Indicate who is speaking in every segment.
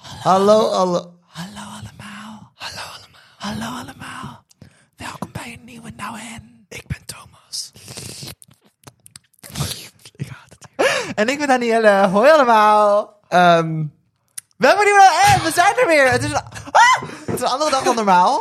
Speaker 1: Hallo, hallo.
Speaker 2: Hallo allemaal. Hallo allemaal. Hallo allemaal. Welkom bij een nieuwe Nou En. Ik
Speaker 1: Ah,
Speaker 2: ben Thomas. ik haat het hier.
Speaker 1: En ik ben Danielle. Hoi allemaal. Ehm welkom bij Nieuwe Nou En. We zijn er weer. Het is, een, Ah! het is een andere dag dan normaal.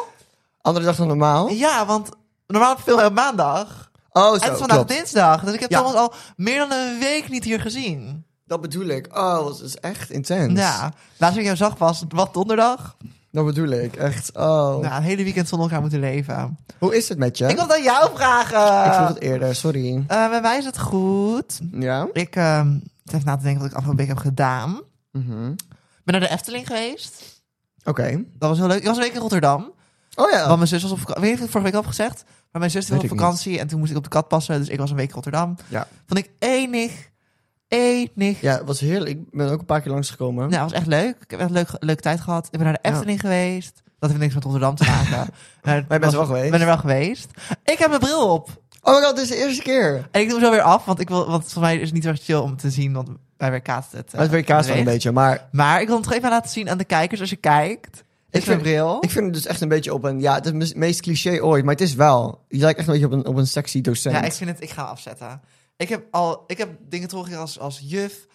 Speaker 3: Andere dag dan normaal.
Speaker 1: Ja, want normaal film je op eh, maandag.
Speaker 3: Oh,
Speaker 1: En het
Speaker 3: zo,
Speaker 1: is vandaag
Speaker 3: klopt.
Speaker 1: dinsdag. Dus ik heb
Speaker 3: Ja.
Speaker 1: Thomas al meer dan een week niet hier gezien.
Speaker 3: Dat bedoel ik. Oh, dat is echt intens.
Speaker 1: Ja. Laatst ik hem zag was wat donderdag.
Speaker 3: Dat bedoel ik, echt. Oh.
Speaker 1: Nou, een hele weekend zonder elkaar moeten leven.
Speaker 3: Hoe is het met je?
Speaker 1: Ik wil eh, het aan jou
Speaker 3: Ik vroeg
Speaker 1: vragen.
Speaker 3: het eerder, sorry.
Speaker 1: Eh, bij mij is het goed.
Speaker 3: Ja?
Speaker 1: Ik ehm zit even na te denken wat ik afgelopen week heb gedaan.
Speaker 3: Mhm.
Speaker 1: Ik ben naar de Efteling geweest.
Speaker 3: Oké.
Speaker 1: Dat was heel leuk. Ik was een week in Rotterdam.
Speaker 3: Oh ja.
Speaker 1: Want mijn zus was op vakantie. Weet je wat ik vorige week heb gezegd? Maar mijn zus was
Speaker 3: Weet
Speaker 1: op
Speaker 3: ik
Speaker 1: vakantie en toen moest ik op de kat passen. Dus ik was een week in Rotterdam.
Speaker 3: Ja.
Speaker 1: Vond ik enig. Enig.
Speaker 3: Ja, het was heerlijk. Ik ben ook een paar keer langsgekomen.
Speaker 1: Nou, dat was echt leuk. Ik heb echt een leuk, leuke tijd gehad. Ik ben naar de
Speaker 3: Ja.
Speaker 1: Efteling geweest. Dat heeft niks met Rotterdam te maken. Maar
Speaker 3: er
Speaker 1: was-
Speaker 3: wel geweest.
Speaker 1: ben er wel geweest. Ik heb mijn bril op.
Speaker 3: Oh my god, dit is de eerste keer.
Speaker 1: En ik doe hem zo weer af, want ik wil, want voor mij is het niet zo erg chill om te zien, want bij weerkaatst het. eh,
Speaker 3: het weer kaas wel een
Speaker 1: beweegt.
Speaker 3: beetje, maar
Speaker 1: Maar ik wil het toch even laten zien aan de kijkers als je kijkt. Is mijn
Speaker 3: vind-
Speaker 1: bril.
Speaker 3: ik vind het dus echt een beetje op een... Ja, het is het meest cliché ooit, maar het is wel. Je lijkt echt een beetje op een, op een sexy docent.
Speaker 1: Ja, ik vind het. Ik ga hem afzetten. Ik heb al. Ik heb dingen teruggekregen als, als juf.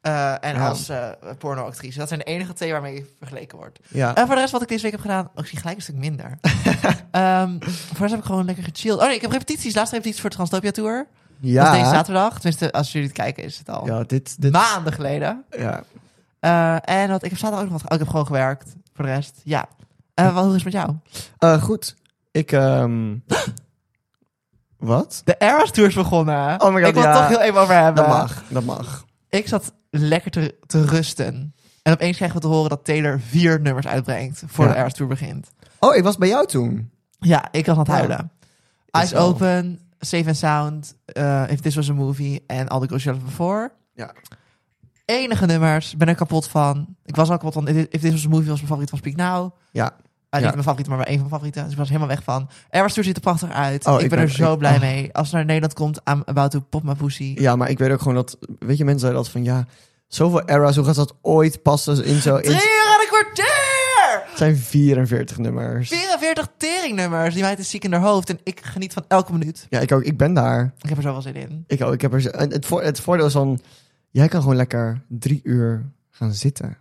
Speaker 1: eh, en
Speaker 3: Ja.
Speaker 1: als eh, pornoactrice. Dat zijn de enige twee waarmee ik vergeleken word.
Speaker 3: Ja.
Speaker 1: En voor de rest wat ik deze week heb gedaan, oh, ik zie gelijk een stuk minder. Ehm, voor de rest heb ik gewoon lekker gechilled. Oh nee, ik heb repetities. Laatste repetitie voor de Transtopia Tour. Ja. Dat is deze
Speaker 3: ja.
Speaker 1: zaterdag. Tenminste, als jullie het kijken is het al
Speaker 3: Ja, dit... dit
Speaker 1: maanden geleden.
Speaker 3: ja.
Speaker 1: Eh, en wat, ik heb zaterdag ook nog wat... Oh, ik heb gewoon gewerkt. Voor de rest, ja. Eh wat, hoe is het met jou?
Speaker 3: Eh, goed. Ik... ehm Wat?
Speaker 1: De Eras Tour is begonnen.
Speaker 3: Oh my god,
Speaker 1: ik wil
Speaker 3: ja.
Speaker 1: het toch heel even over hebben.
Speaker 3: Dat mag, dat mag.
Speaker 1: Ik zat lekker te, te rusten. En opeens krijgen we te horen dat Taylor vier nummers uitbrengt voor
Speaker 3: Ja.
Speaker 1: de Eras Tour begint.
Speaker 3: Oh, ik was bij jou toen.
Speaker 1: Ja, ik was aan het
Speaker 3: Ja.
Speaker 1: huilen.
Speaker 3: Is
Speaker 1: Eyes
Speaker 3: zo.
Speaker 1: Open, Safe and Sound, eh, If This Was a Movie en All the Girls You Loved Before.
Speaker 3: Ja.
Speaker 1: Enige nummers, ben er kapot van. Ik was al kapot van If This Was a Movie was mijn favoriet van Speak Now.
Speaker 3: Ja.
Speaker 1: Eh,
Speaker 3: Ja.
Speaker 1: Niet mijn favoriet, maar wel een van mijn favorieten. Dus ik was helemaal weg van. Eras Tour ziet er prachtig uit.
Speaker 3: Oh,
Speaker 1: ik,
Speaker 3: ik
Speaker 1: ben
Speaker 3: ben-
Speaker 1: er zo
Speaker 3: ik-
Speaker 1: blij
Speaker 3: oh.
Speaker 1: mee. Als ze naar Nederland komt, I'm about to pop my pussy.
Speaker 3: Ja, maar ik weet ook gewoon dat... Weet je, mensen zeiden altijd van... Ja, zoveel era's, hoe gaat dat ooit passen in zo...
Speaker 1: Drie
Speaker 3: In,
Speaker 1: uur en een kwartier!
Speaker 3: het zijn 44 nummers.
Speaker 1: 44 teringnummers. Die meid is ziek in haar hoofd. En ik geniet van elke minuut.
Speaker 3: Ja, ik ook. Ik ben daar.
Speaker 1: Ik heb er zo wel zin in.
Speaker 3: Ik ook. Ik heb er, zo- en het, voor, het voordeel is dan... Jij kan gewoon lekker drie uur gaan zitten.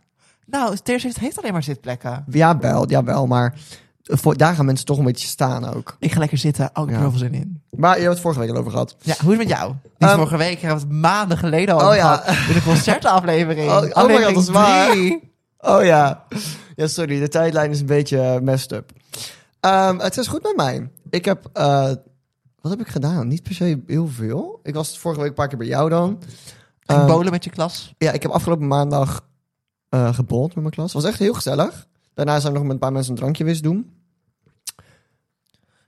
Speaker 1: Nou, Tears heeft, heeft alleen maar zitplekken.
Speaker 3: Jawel, jawel, maar... Voor, daar gaan mensen toch een beetje staan ook.
Speaker 1: Ik ga lekker zitten. Oh, ik heb er
Speaker 3: Ja.
Speaker 1: heel veel zin in.
Speaker 3: Maar je hebt het vorige week al over gehad.
Speaker 1: Ja, hoe is het met jou? Die is
Speaker 3: Ehm,
Speaker 1: vorige week, ik heb het maanden geleden al over
Speaker 3: Oh ja.
Speaker 1: gehad. In de concertaflevering.
Speaker 3: Oh, oh my god,
Speaker 1: Aflevering
Speaker 3: dat is waar.
Speaker 1: drie.
Speaker 3: Oh ja. Ja, sorry. De tijdlijn is een beetje eh, messed up. Ehm, het is goed met mij. Ik heb... eh, wat heb ik gedaan? Niet per se heel veel. Ik was vorige week een paar keer bij jou dan.
Speaker 1: Ging
Speaker 3: Ehm,
Speaker 1: bolen met je klas.
Speaker 3: ja, ik heb afgelopen maandag eh gebold met mijn klas. was echt heel gezellig. Daarna zijn we nog met een paar mensen een drankje wist doen.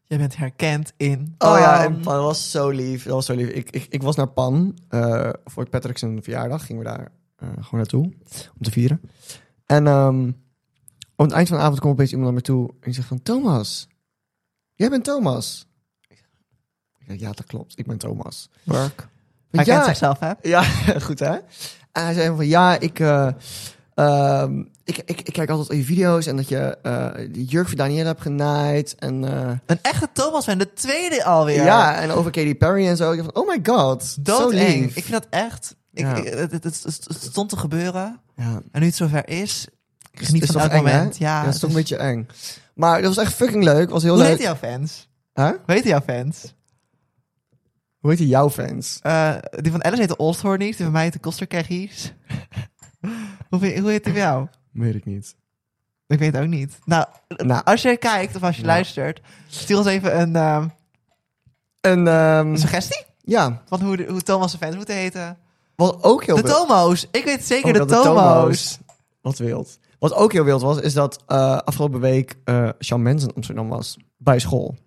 Speaker 1: Jij bent herkend in. Ehm,
Speaker 3: Oh ja,
Speaker 1: Pan.
Speaker 3: en Pan was zo lief. Dat was zo lief. Ik, ik, ik was naar Pan eh, voor Patrick zijn verjaardag. Gingen we daar eh, gewoon naartoe om te vieren. En ehm, op het eind van de avond kwam opeens iemand naar me toe en die zegt van... Thomas, jij bent Thomas. Ik zeg, ja, dat klopt. Ik ben Thomas.
Speaker 1: Work. Hij
Speaker 3: ja,
Speaker 1: kent zichzelf, hè?
Speaker 3: Ja, goed hè? En hij zei van ja, ik, eh, ehm, ik, ik, ik kijk altijd al je video's en dat je eh, die jurk voor Daniela hebt genaaid. En, eh,
Speaker 1: Een echte Thomas fan. De tweede alweer.
Speaker 3: Ja, en over Katy Perry en zo. Ik dacht van, oh my god, zo
Speaker 1: Doodeng.
Speaker 3: lief.
Speaker 1: Ik vind dat echt... Ik,
Speaker 3: Ja.
Speaker 1: ik- het, het- het- het- het stond te gebeuren.
Speaker 3: ja.
Speaker 1: En nu het zover is... Ik geniet
Speaker 3: Is
Speaker 1: van
Speaker 3: toch
Speaker 1: elk
Speaker 3: eng, hè?
Speaker 1: moment. Ja,
Speaker 3: Ja, dat is
Speaker 1: het
Speaker 3: toch een beetje eng. Maar dat was echt fucking leuk. Was heel
Speaker 1: Hoe
Speaker 3: leuk.
Speaker 1: heet jouw fans?
Speaker 3: Hè?
Speaker 1: Hoe heet jouw fans?
Speaker 3: Hoe heet die jouw fans?
Speaker 1: Eh, die van Alice heette Oldhornies, die van mij heette Kosterkeggies. hoe, vind- hoe heet die van jou?
Speaker 3: Weet ik niet.
Speaker 1: Ik weet het ook niet. Nou,
Speaker 3: Nou,
Speaker 1: als je kijkt of als je luistert, stuur ons even een eh,
Speaker 3: en ehm,
Speaker 1: suggestie
Speaker 3: ja,
Speaker 1: van hoe, de- hoe Thomas' fans moeten heten.
Speaker 3: wat ook heel
Speaker 1: De
Speaker 3: wild.
Speaker 1: Tomo's. Ik weet zeker de
Speaker 3: Oh, dat
Speaker 1: Tomo's.
Speaker 3: Wat wild. Wat ook heel wild was, is dat eh, afgelopen week eh Shawn Mendes in Amsterdam was. Bij school.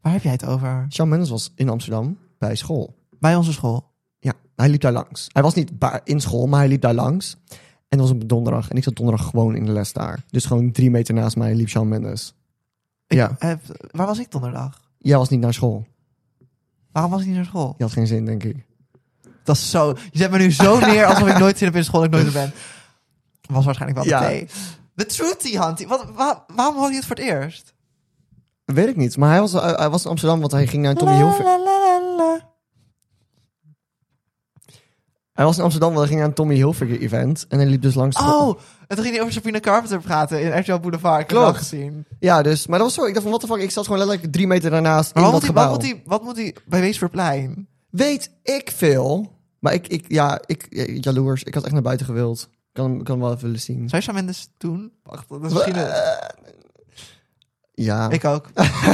Speaker 1: Waar heb jij het over?
Speaker 3: Shawn Mendes was in Amsterdam bij school.
Speaker 1: Bij onze school.
Speaker 3: Ja, hij liep daar langs. Hij was niet ba- in school, maar hij liep daar langs. En dat was op donderdag. En ik zat donderdag gewoon in de les daar. Dus gewoon drie meter naast mij liep Shawn Mendes.
Speaker 1: Ik
Speaker 3: Ja.
Speaker 1: heb- Eh, waar was ik donderdag?
Speaker 3: Jij was niet naar school.
Speaker 1: Waarom was ik niet naar school?
Speaker 3: Je had geen zin, denk ik.
Speaker 1: Dat is zo... Je zet me nu zo neer alsof ik nooit zin heb in school en ik nooit er ben. was waarschijnlijk wel de
Speaker 3: Ja.
Speaker 1: thee. The Truth Tea Hunt. Wat, wa- waarom hoorde je het voor het eerst?
Speaker 3: Weet ik niet. Maar hij was, eh, hij was in Amsterdam, want hij ging naar een Tommy
Speaker 1: La,
Speaker 3: Hilfiger.
Speaker 1: la, la, la, la.
Speaker 3: Hij was in Amsterdam, want hij ging naar een Tommy Hilfiger event. En hij liep dus langs. de-
Speaker 1: Oh, en toen ging hij over Sabrina Carpenter praten in RTL Boulevard. Ik heb
Speaker 3: Klopt.
Speaker 1: dat gezien.
Speaker 3: Ja, dus. Maar dat was zo. Ik dacht van, wat de fuck. Ik zat gewoon letterlijk drie meter daarnaast
Speaker 1: Maar
Speaker 3: in
Speaker 1: wat moet,
Speaker 3: dat
Speaker 1: hij, wat,
Speaker 3: gebouw.
Speaker 1: moet hij, wat moet hij bij Weesperplein?
Speaker 3: Weet ik veel. Maar ik, ik ja, ik, eh, jaloers. Ik had echt naar buiten gewild. Ik kan, hem- kan hem wel even willen zien.
Speaker 1: Zou je Shawn Mendes doen? Wacht, dat is misschien... een-
Speaker 3: Eh, Ja.
Speaker 1: Ik ook.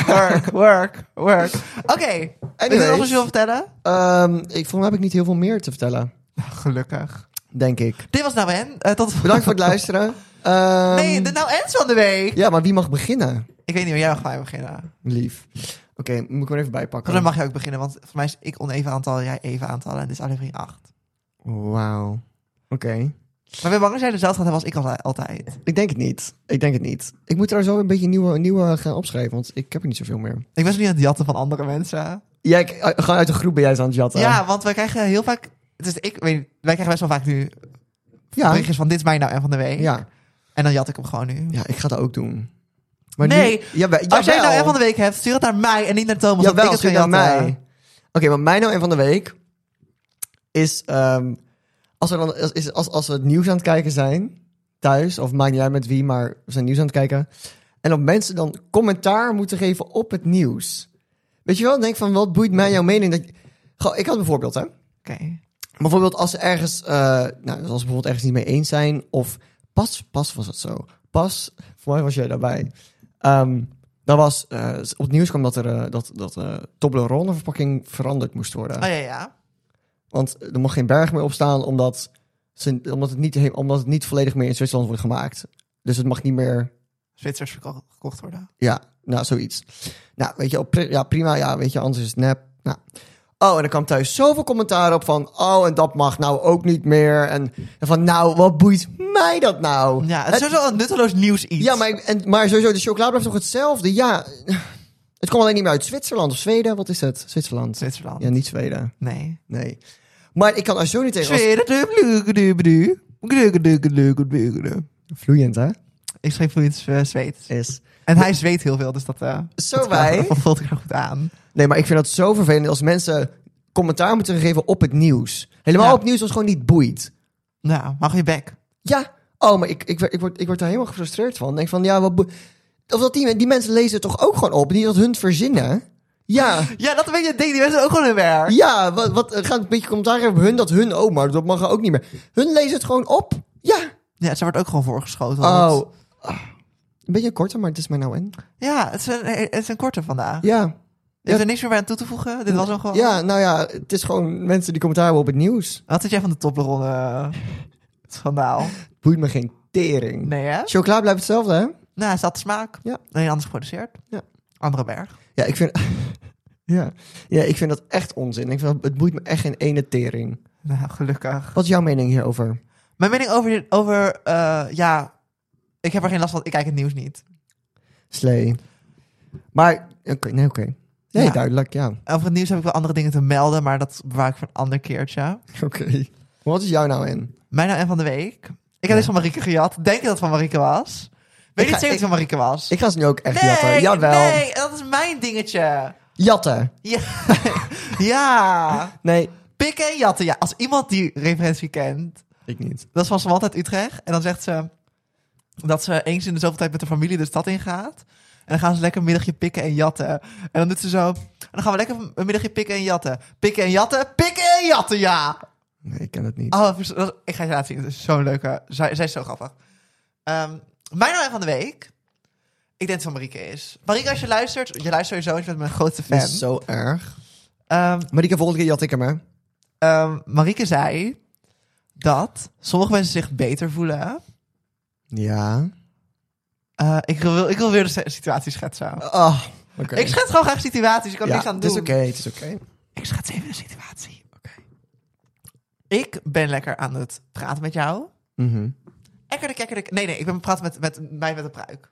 Speaker 1: work, work, work. Oké, en wil je nog
Speaker 3: Anyways.
Speaker 1: eens wil vertellen?
Speaker 3: Ehm, ik, volgens mij heb ik niet heel veel meer te vertellen.
Speaker 1: Gelukkig.
Speaker 3: Denk ik.
Speaker 1: Dit was Nou En. Eh, tot de
Speaker 3: Bedankt voor het luisteren. Ehm,
Speaker 1: Nee, de Nou En's van de week.
Speaker 3: Ja, maar wie mag beginnen?
Speaker 1: Ik weet niet waar jij mag bij beginnen.
Speaker 3: Lief. Oké, moet ik hem even
Speaker 1: Maar dan
Speaker 3: bijpakken.
Speaker 1: mag je ook beginnen, want voor mij is ik oneven aantal, jij even aantallen. En dit is aflevering 8.
Speaker 3: Wauw. Oké.
Speaker 1: Maar ben bang dat jij dezelfde gaat hebben als ik al- altijd.
Speaker 3: Ik denk het niet. Ik denk het niet. Ik moet trouwens wel een beetje nieuwe, nieuwe gaan opschrijven, want ik heb er niet zoveel meer.
Speaker 1: Ik ben zo niet aan het jatten van andere mensen.
Speaker 3: Ja, ik, eh, gewoon uit de groep ben jij eens aan het jatten.
Speaker 1: Ja, want wij krijgen heel vaak... Dus ik weet niet, wij krijgen best wel vaak nu
Speaker 3: Ja.
Speaker 1: berichtjes van dit is mijn Nou En van de week.
Speaker 3: ja.
Speaker 1: En dan jat ik hem gewoon nu.
Speaker 3: Ja, ik ga dat ook doen.
Speaker 1: Nee,
Speaker 3: nu- jawel,
Speaker 1: Als jij Nou
Speaker 3: jawel.
Speaker 1: En van de week hebt, stuur het naar mij en niet naar Thomas. want
Speaker 3: Jawel,
Speaker 1: ik het
Speaker 3: stuur
Speaker 1: ga
Speaker 3: naar mij.
Speaker 1: jatten.
Speaker 3: Oké, maar mijn nou en van de week is, ehm, als, we dan, als- is als, als we het nieuws aan het kijken zijn, thuis, of maakt niet uit met wie, maar we zijn nieuws aan het kijken. En dat mensen dan commentaar moeten geven op het nieuws. Weet je wel, denk van, wat boeit mij jouw mening? Dat, Goh, ik had een voorbeeld, hè.
Speaker 1: eh, Oké.
Speaker 3: Bijvoorbeeld als ze ergens, eh, nou, als we bijvoorbeeld ergens niet mee eens zijn, of pas, pas was het zo. Pas, voor mij was jij daarbij. Ehm dat was, eh, op het nieuws kwam dat er eh, dat, dat eh Toblerone verpakking veranderd moest worden.
Speaker 1: Oh ja, ja.
Speaker 3: Want er mocht geen berg meer op staan, omdat, ze, omdat, het niet, he- omdat het niet volledig meer in Zwitserland wordt gemaakt. Dus het mag niet meer
Speaker 1: Zwitsers verko- gekocht worden.
Speaker 3: ja, nou, zoiets. Nou, weet je, wel, pri- ja, prima. Ja, weet je, anders is het nep. Nou. Oh, en er kwam thuis zoveel commentaar op van... oh, en dat mag nou ook niet meer. En, en van, nou, wat boeit mij dat nou?
Speaker 1: Ja, het is sowieso een nutteloos nieuws iets.
Speaker 3: Ja, maar, ik- en, maar sowieso, de chocola blijft toch hetzelfde? Ja, het kwam alleen niet meer uit Zwitserland of Zweden. Wat is het? Zwitserland.
Speaker 1: Zwitserland.
Speaker 3: Ja, niet Zweden.
Speaker 1: Nee.
Speaker 3: Nee. Maar ik kan er zo niet tegen... als-
Speaker 1: Zweden.
Speaker 3: Vloeiend, hè?
Speaker 1: Ik schreef vloeiend eh, Zweeds.
Speaker 3: Is.
Speaker 1: En hij zweet heel veel, dus dat... eh
Speaker 3: Zo wij.
Speaker 1: Dat voelt ik er goed aan.
Speaker 3: Nee, maar ik vind dat zo vervelend als mensen commentaar moeten geven op het nieuws. Helemaal
Speaker 1: Ja.
Speaker 3: op nieuws als gewoon niet boeit.
Speaker 1: Nou, mag je bek.
Speaker 3: Ja, oh, maar ik, ik, ik, word, ik word daar helemaal gefrustreerd van. Ik denk van, ja, wat... boe- Of dat die, die mensen lezen het toch ook gewoon op? Niet dat hun het verzinnen. Ja,
Speaker 1: Ja, dat weet je, denk die mensen ook gewoon hun werk.
Speaker 3: ja, wat, wat er gaat een beetje commentaar hebben op hun dat hun ook, maar dat mag ook niet meer. Hun lezen het gewoon op. Ja.
Speaker 1: Ja, ze wordt ook gewoon voorgeschoten.
Speaker 3: Oh.
Speaker 1: want-
Speaker 3: Ah. Een beetje korter, maar het is mij nou in.
Speaker 1: Ja, het is een, eh, het is een korte vandaag. Je
Speaker 3: Ja.
Speaker 1: hebt er niks meer bij aan toe te voegen. Dit was hem gewoon.
Speaker 3: ja, nou ja, het is gewoon mensen die commentaar hebben op het nieuws.
Speaker 1: Wat vind jij van de Toblerone eh, schandaal?
Speaker 3: Boeit me geen tering.
Speaker 1: Nee, hè?
Speaker 3: Chocola blijft hetzelfde, hè?
Speaker 1: Nou, is dat de smaak?
Speaker 3: Ja.
Speaker 1: Nee, anders geproduceerd.
Speaker 3: Ja.
Speaker 1: Andere berg.
Speaker 3: Ja, ik vind... ja. ja, ik vind dat echt onzin. Ik vind dat, het boeit me echt geen ene tering.
Speaker 1: Nou, gelukkig.
Speaker 3: Wat is jouw mening hierover?
Speaker 1: Mijn mening over, over eh, ja, ik heb er geen last van, ik kijk het nieuws niet.
Speaker 3: Slee. Maar, oké, nee, oké. Nee,
Speaker 1: Ja.
Speaker 3: duidelijk, ja.
Speaker 1: Over het nieuws heb ik wel andere dingen te melden, maar dat bewaar ik voor een ander keertje.
Speaker 3: Oké. Wat is jou nou in?
Speaker 1: Mijn naam en van de week. Ik heb deze van Marieke gejat. Denk je dat het van Marieke was? Weet
Speaker 3: ga-
Speaker 1: niet zeker dat
Speaker 3: ik-
Speaker 1: het van Marieke was.
Speaker 3: Ik ga ze nu ook echt
Speaker 1: nee,
Speaker 3: jatten. Jawel.
Speaker 1: nee, dat is mijn dingetje.
Speaker 3: Jatten.
Speaker 1: Ja. ja.
Speaker 3: Nee.
Speaker 1: Pikken en jatten. Ja, als iemand die referentie kent,
Speaker 3: Ik niet.
Speaker 1: dat is van Samantha uit Utrecht. En dan zegt ze dat ze eens in de zoveel tijd met de familie de stad ingaat. En dan gaan ze lekker een middagje pikken en jatten. En dan doet ze zo. En dan gaan we lekker een middagje pikken en jatten. Pikken en jatten. Pikken en jatten, ja.
Speaker 3: Nee, ik ken het niet.
Speaker 1: Oh, vers- dat- ik ga je laten zien. Het is zo'n leuke. Zij, zij is zo grappig. Ehm, mijn naam van de week. Ik denk dat het van Marieke is. Marieke, als je luistert, je luistert sowieso, want je bent mijn grootste
Speaker 3: Dat
Speaker 1: fan.
Speaker 3: is zo erg.
Speaker 1: Ehm,
Speaker 3: Maar die volgende keer jat ik hem, hè?
Speaker 1: ehm, Marieke zei dat sommige mensen zich beter voelen.
Speaker 3: Ja.
Speaker 1: Eh, ik, wil, ik wil weer de se- situatie schetsen.
Speaker 3: Oh, oké.
Speaker 1: Ik schets gewoon graag situaties. Ik kan er
Speaker 3: Ja,
Speaker 1: niks aan
Speaker 3: het
Speaker 1: doen.
Speaker 3: is oké, het is oké.
Speaker 1: Ik schets even de situatie. Ik ben lekker aan het praten met jou.
Speaker 3: Mhm.
Speaker 1: Ekkerde, kekkerde. Nee, nee, ik ben praten met, met mij met de pruik.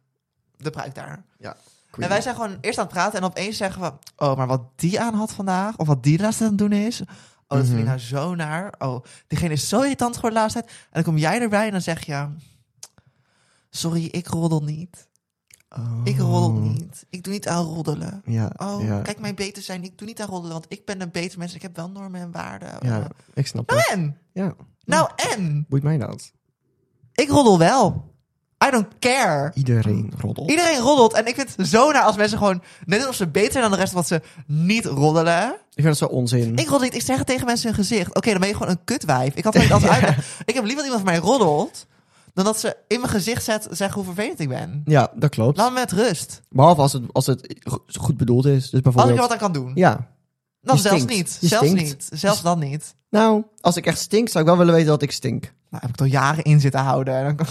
Speaker 1: De pruik daar.
Speaker 3: Ja.
Speaker 1: En wij zijn gewoon eerst aan het praten en opeens zeggen we... Oh, maar wat die aan had vandaag, of wat die de laatste tijd aan het doen is...
Speaker 3: Mhm.
Speaker 1: Oh, dat vind ik nou zo naar. Oh, diegene is zo irritant geworden de laatste tijd. En dan kom jij erbij en dan zeg je... Sorry, ik roddel niet.
Speaker 3: Oh.
Speaker 1: Ik roddel niet. Ik doe niet aan roddelen.
Speaker 3: Ja,
Speaker 1: Oh,
Speaker 3: ja,
Speaker 1: kijk mij beter zijn. Ik doe niet aan roddelen, want ik ben een beter mens. Ik heb wel normen en waarden.
Speaker 3: ja, ik snap
Speaker 1: Nou
Speaker 3: het.
Speaker 1: en?
Speaker 3: Ja,
Speaker 1: Nou en?
Speaker 3: boeit mij dat.
Speaker 1: Ik roddel wel. I don't care.
Speaker 3: Iedereen roddelt.
Speaker 1: Iedereen roddelt. En ik vind het zo naar als mensen gewoon... Net alsof ze beter zijn dan de rest, want ze niet roddelen.
Speaker 3: Ik vind dat zo onzin.
Speaker 1: Ik roddel niet. Ik zeg het tegen mensen in hun gezicht. Oké, dan ben je gewoon een kutwijf. Ik had het niet altijd uitleggen. Ik heb liever dat iemand van mij roddelt... dan dat ze in mijn gezicht zet, zeggen hoe vervelend ik ben.
Speaker 3: Ja, dat klopt.
Speaker 1: Laat me met rust.
Speaker 3: Behalve als het, als het go- goed bedoeld is. Dus
Speaker 1: Als ik
Speaker 3: bijvoorbeeld...
Speaker 1: er wat aan kan doen.
Speaker 3: Ja.
Speaker 1: Dan
Speaker 3: je
Speaker 1: zelfs
Speaker 3: stinkt.
Speaker 1: niet.
Speaker 3: Je
Speaker 1: zelfs
Speaker 3: stinkt.
Speaker 1: niet. Zelfs dan niet.
Speaker 3: Nou, als ik echt stink, zou ik wel willen weten dat ik stink.
Speaker 1: Nou, heb ik het al jaren in zitten houden. En dan kan...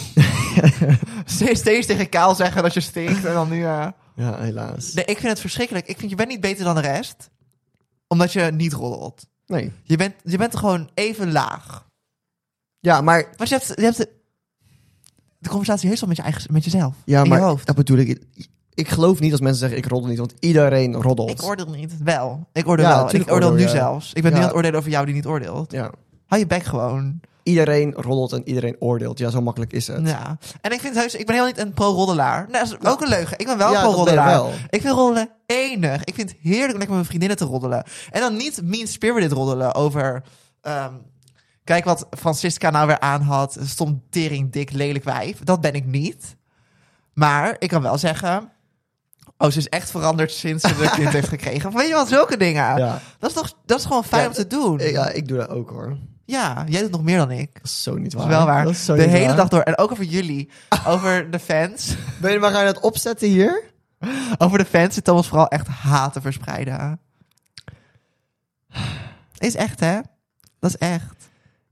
Speaker 1: steeds, steeds tegen Kaal zeggen dat je stinkt. En dan nu... eh,
Speaker 3: Ja, helaas.
Speaker 1: Nee, ik vind het verschrikkelijk. Ik vind, je bent niet beter dan de rest. Omdat je niet roddelt.
Speaker 3: Nee.
Speaker 1: Je bent, je bent gewoon even laag.
Speaker 3: Ja, maar...
Speaker 1: Want je hebt, je hebt de, de conversatie heel snel met, je eigen, met jezelf.
Speaker 3: Ja,
Speaker 1: in
Speaker 3: maar
Speaker 1: je hoofd.
Speaker 3: dat bedoel ik. Ik geloof niet als mensen zeggen ik roddel niet, want iedereen roddelt.
Speaker 1: Ik oordeel niet. Wel. Ik oordeel
Speaker 3: Ja,
Speaker 1: wel. En ik
Speaker 3: tuurlijk
Speaker 1: oordeel nu
Speaker 3: oordeel jij.
Speaker 1: zelfs. Ik ben
Speaker 3: Ja.
Speaker 1: nu aan het oordelen over jou die niet oordeelt.
Speaker 3: Ja.
Speaker 1: Hou je bek gewoon.
Speaker 3: Iedereen roddelt en iedereen oordeelt. Ja, zo makkelijk is het.
Speaker 1: Ja. En ik vind heus, ik ben heel niet een pro-roddelaar. Nou, dat is ook een leugen. Ik ben wel
Speaker 3: Ja,
Speaker 1: een
Speaker 3: dat ben je
Speaker 1: pro-roddelaar.
Speaker 3: wel.
Speaker 1: Ik vind roddelen enig. Ik vind het heerlijk om lekker met mijn vriendinnen te roddelen. En dan niet mean-spirited roddelen over... ehm, kijk wat Francisca nou weer aan had. Een Stom tering, dik, lelijk wijf. Dat ben ik niet. Maar ik kan wel zeggen... Oh, ze is echt veranderd sinds ze een kind heeft gekregen. Of Weet je wat, zulke dingen.
Speaker 3: Ja.
Speaker 1: Dat, is toch, dat is gewoon fijn
Speaker 3: Ja,
Speaker 1: om te doen.
Speaker 3: Eh, Ja, ik doe dat ook hoor.
Speaker 1: ja, jij doet nog meer dan ik.
Speaker 3: Dat is zo niet
Speaker 1: Dat
Speaker 3: waar.
Speaker 1: is wel waar.
Speaker 3: Dat is zo
Speaker 1: de
Speaker 3: niet
Speaker 1: hele
Speaker 3: waar.
Speaker 1: dag door. En ook over jullie. Over de fans.
Speaker 3: Ben je maar gaan het opzetten hier?
Speaker 1: Over de fans zit Thomas vooral echt haat te verspreiden. Is echt, hè? Dat is echt.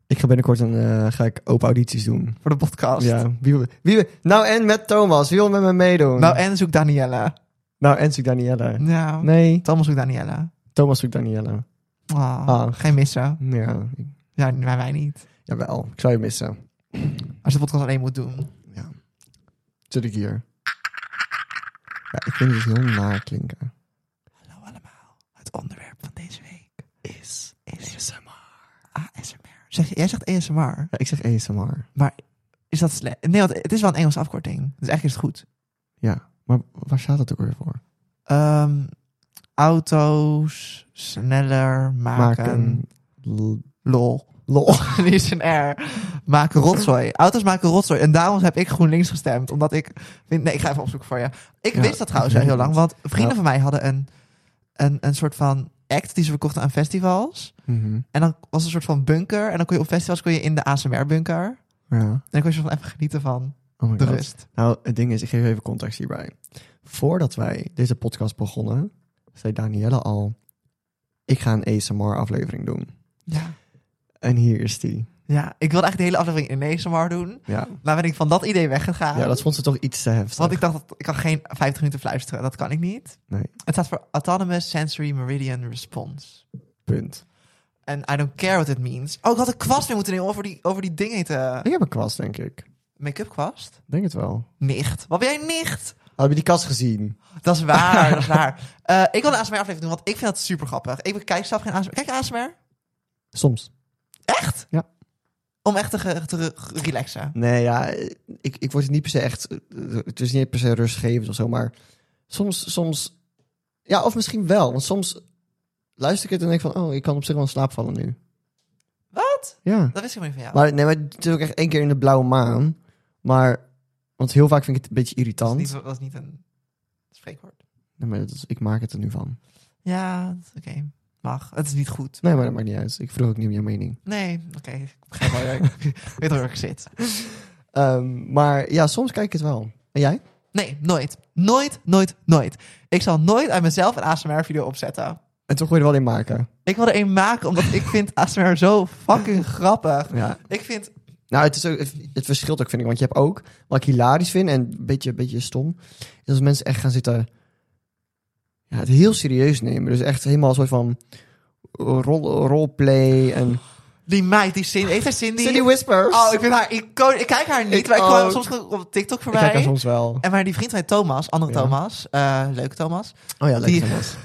Speaker 3: Ik ga binnenkort een, eh, ga ik open audities doen.
Speaker 1: Voor de podcast.
Speaker 3: Ja, wie, wil- wie, wil- nou en met Thomas. Wie wil met me meedoen?
Speaker 1: Nou, en zoek Danielle.
Speaker 3: Nou, en zoek Danielle.
Speaker 1: Nou,
Speaker 3: Nee,
Speaker 1: Thomas zoekt Danielle.
Speaker 3: Thomas zoekt Danielle.
Speaker 1: Oh,
Speaker 3: Ah.
Speaker 1: Geen missen.
Speaker 3: Ja, ik-
Speaker 1: Ja, maar wij niet.
Speaker 3: jawel. Ik zou je missen.
Speaker 1: Als je de podcast alleen moet doen.
Speaker 3: Zit ik hier. Ja, ik vind het heel naar klinken.
Speaker 1: Hallo allemaal. Het onderwerp van deze week is, is ASMR. ASMR. Zeg, je- jij zegt ASMR,
Speaker 3: Ja, ik zeg ASMR.
Speaker 1: maar is dat slecht? Nee, want het is wel een Engelse afkorting. Dus eigenlijk is het goed.
Speaker 3: Ja, maar waar staat dat ook weer voor?
Speaker 1: Ehm, auto's sneller maken.
Speaker 3: Maken. L-
Speaker 1: Lol.
Speaker 3: Lol.
Speaker 1: Die is een R. Maken rotzooi. Auto's maken rotzooi. En daarom heb ik GroenLinks gestemd. Omdat ik... vind- Nee, ik ga even opzoeken voor je. Ik
Speaker 3: Ja,
Speaker 1: wist dat trouwens
Speaker 3: ik
Speaker 1: wel
Speaker 3: weet
Speaker 1: heel lang.
Speaker 3: het.
Speaker 1: Want vrienden
Speaker 3: Ja.
Speaker 1: van mij hadden een, een, een soort van act die ze verkochten aan festivals.
Speaker 3: Mhm.
Speaker 1: En dan was er een soort van bunker. En dan kon je op festivals kon je in de ASMR-bunker. En
Speaker 3: Ja.
Speaker 1: dan kon je soort van even genieten van
Speaker 3: Oh my
Speaker 1: de
Speaker 3: god.
Speaker 1: rust.
Speaker 3: Nou, het ding is, ik geef even context hierbij. Voordat wij deze podcast begonnen, zei Danielle al... Ik ga een ASMR-aflevering doen.
Speaker 1: Ja.
Speaker 3: En hier is die.
Speaker 1: ja, ik wilde eigenlijk de hele aflevering in ASMR doen.
Speaker 3: Ja,
Speaker 1: Maar ben ik van dat idee weggegaan.
Speaker 3: ja dat vond ze toch iets te heftig.
Speaker 1: Want Ah. ik dacht, dat, ik kan geen 50 minuten fluisteren. Dat kan ik niet.
Speaker 3: Nee,
Speaker 1: Het staat voor Autonomous Sensory Meridian Response.
Speaker 3: punt.
Speaker 1: En I don't care what it means. Oh, ik had een kwast weer moeten nemen over die, over die ding heten.
Speaker 3: Ik heb een kwast, denk ik.
Speaker 1: Make-up kwast?
Speaker 3: Denk het wel.
Speaker 1: Nicht. Wat ben jij nicht?
Speaker 3: Heb je die kast gezien?
Speaker 1: Dat is waar, dat is waar. Eh, ik wil een ASMR aflevering doen, want ik vind dat super grappig. Ik kijk zelf geen ASMR. Kijk je ASMR?
Speaker 3: Soms.
Speaker 1: Echt?
Speaker 3: Ja.
Speaker 1: Om echt te, ge- te re- ge- relaxen.
Speaker 3: Nee, ja, ik, ik word het niet per se echt... Het is niet per se rustgevend of zo, maar... Soms, soms... Ja, of misschien wel. Want soms luister ik het en denk van... Oh, ik kan op zich wel in slaap vallen nu.
Speaker 1: Wat?
Speaker 3: Ja.
Speaker 1: Dat wist ik helemaal niet van jou.
Speaker 3: Maar, nee, maar het is ook echt één keer in de blauwe maan. Maar... Want heel vaak vind ik het een beetje
Speaker 1: dat,
Speaker 3: irritant.
Speaker 1: is niet, dat is niet een spreekwoord.
Speaker 3: Nee, maar dat is- ik maak het er nu van.
Speaker 1: Ja, dat is- oké. Mag. Het is niet goed.
Speaker 3: Nee, maar dat maakt niet uit. Ik vroeg ook niet om jouw mening.
Speaker 1: Nee, oké. Ik begrijp wel. waar je- Ik weet wel waar ik zit.
Speaker 3: Ehm, maar ja, soms kijk ik het wel. En jij?
Speaker 1: Nee, nooit. Nooit, nooit, nooit. Ik zal nooit uit mezelf een ASMR-video opzetten.
Speaker 3: En toch wil je er wel in maken.
Speaker 1: Ik wil er één maken, omdat ik vind ASMR zo fucking grappig.
Speaker 3: Ja.
Speaker 1: Ik vind...
Speaker 3: Nou, het, is ook, het, het verschilt ook, vind ik. Want je hebt ook, wat ik hilarisch vind en een beetje, beetje stom, is als mensen echt gaan zitten ja, het heel serieus nemen. Dus echt helemaal een soort van rol, roleplay en...
Speaker 1: Die meid, die Cindy... Heeft haar Cindy?
Speaker 3: Cindy Whispers!
Speaker 1: Oh, ik vind haar icoon. Ik kijk haar niet,
Speaker 3: Ik
Speaker 1: maar ik kwam
Speaker 3: ook.
Speaker 1: soms op TikTok
Speaker 3: Ik kijk
Speaker 1: voorbij.
Speaker 3: haar soms wel.
Speaker 1: En maar die vriend van mij, Thomas, andere
Speaker 3: Ja.
Speaker 1: Thomas, eh, leuke Thomas,
Speaker 3: Oh ja,
Speaker 1: Die-
Speaker 3: leuk Thomas.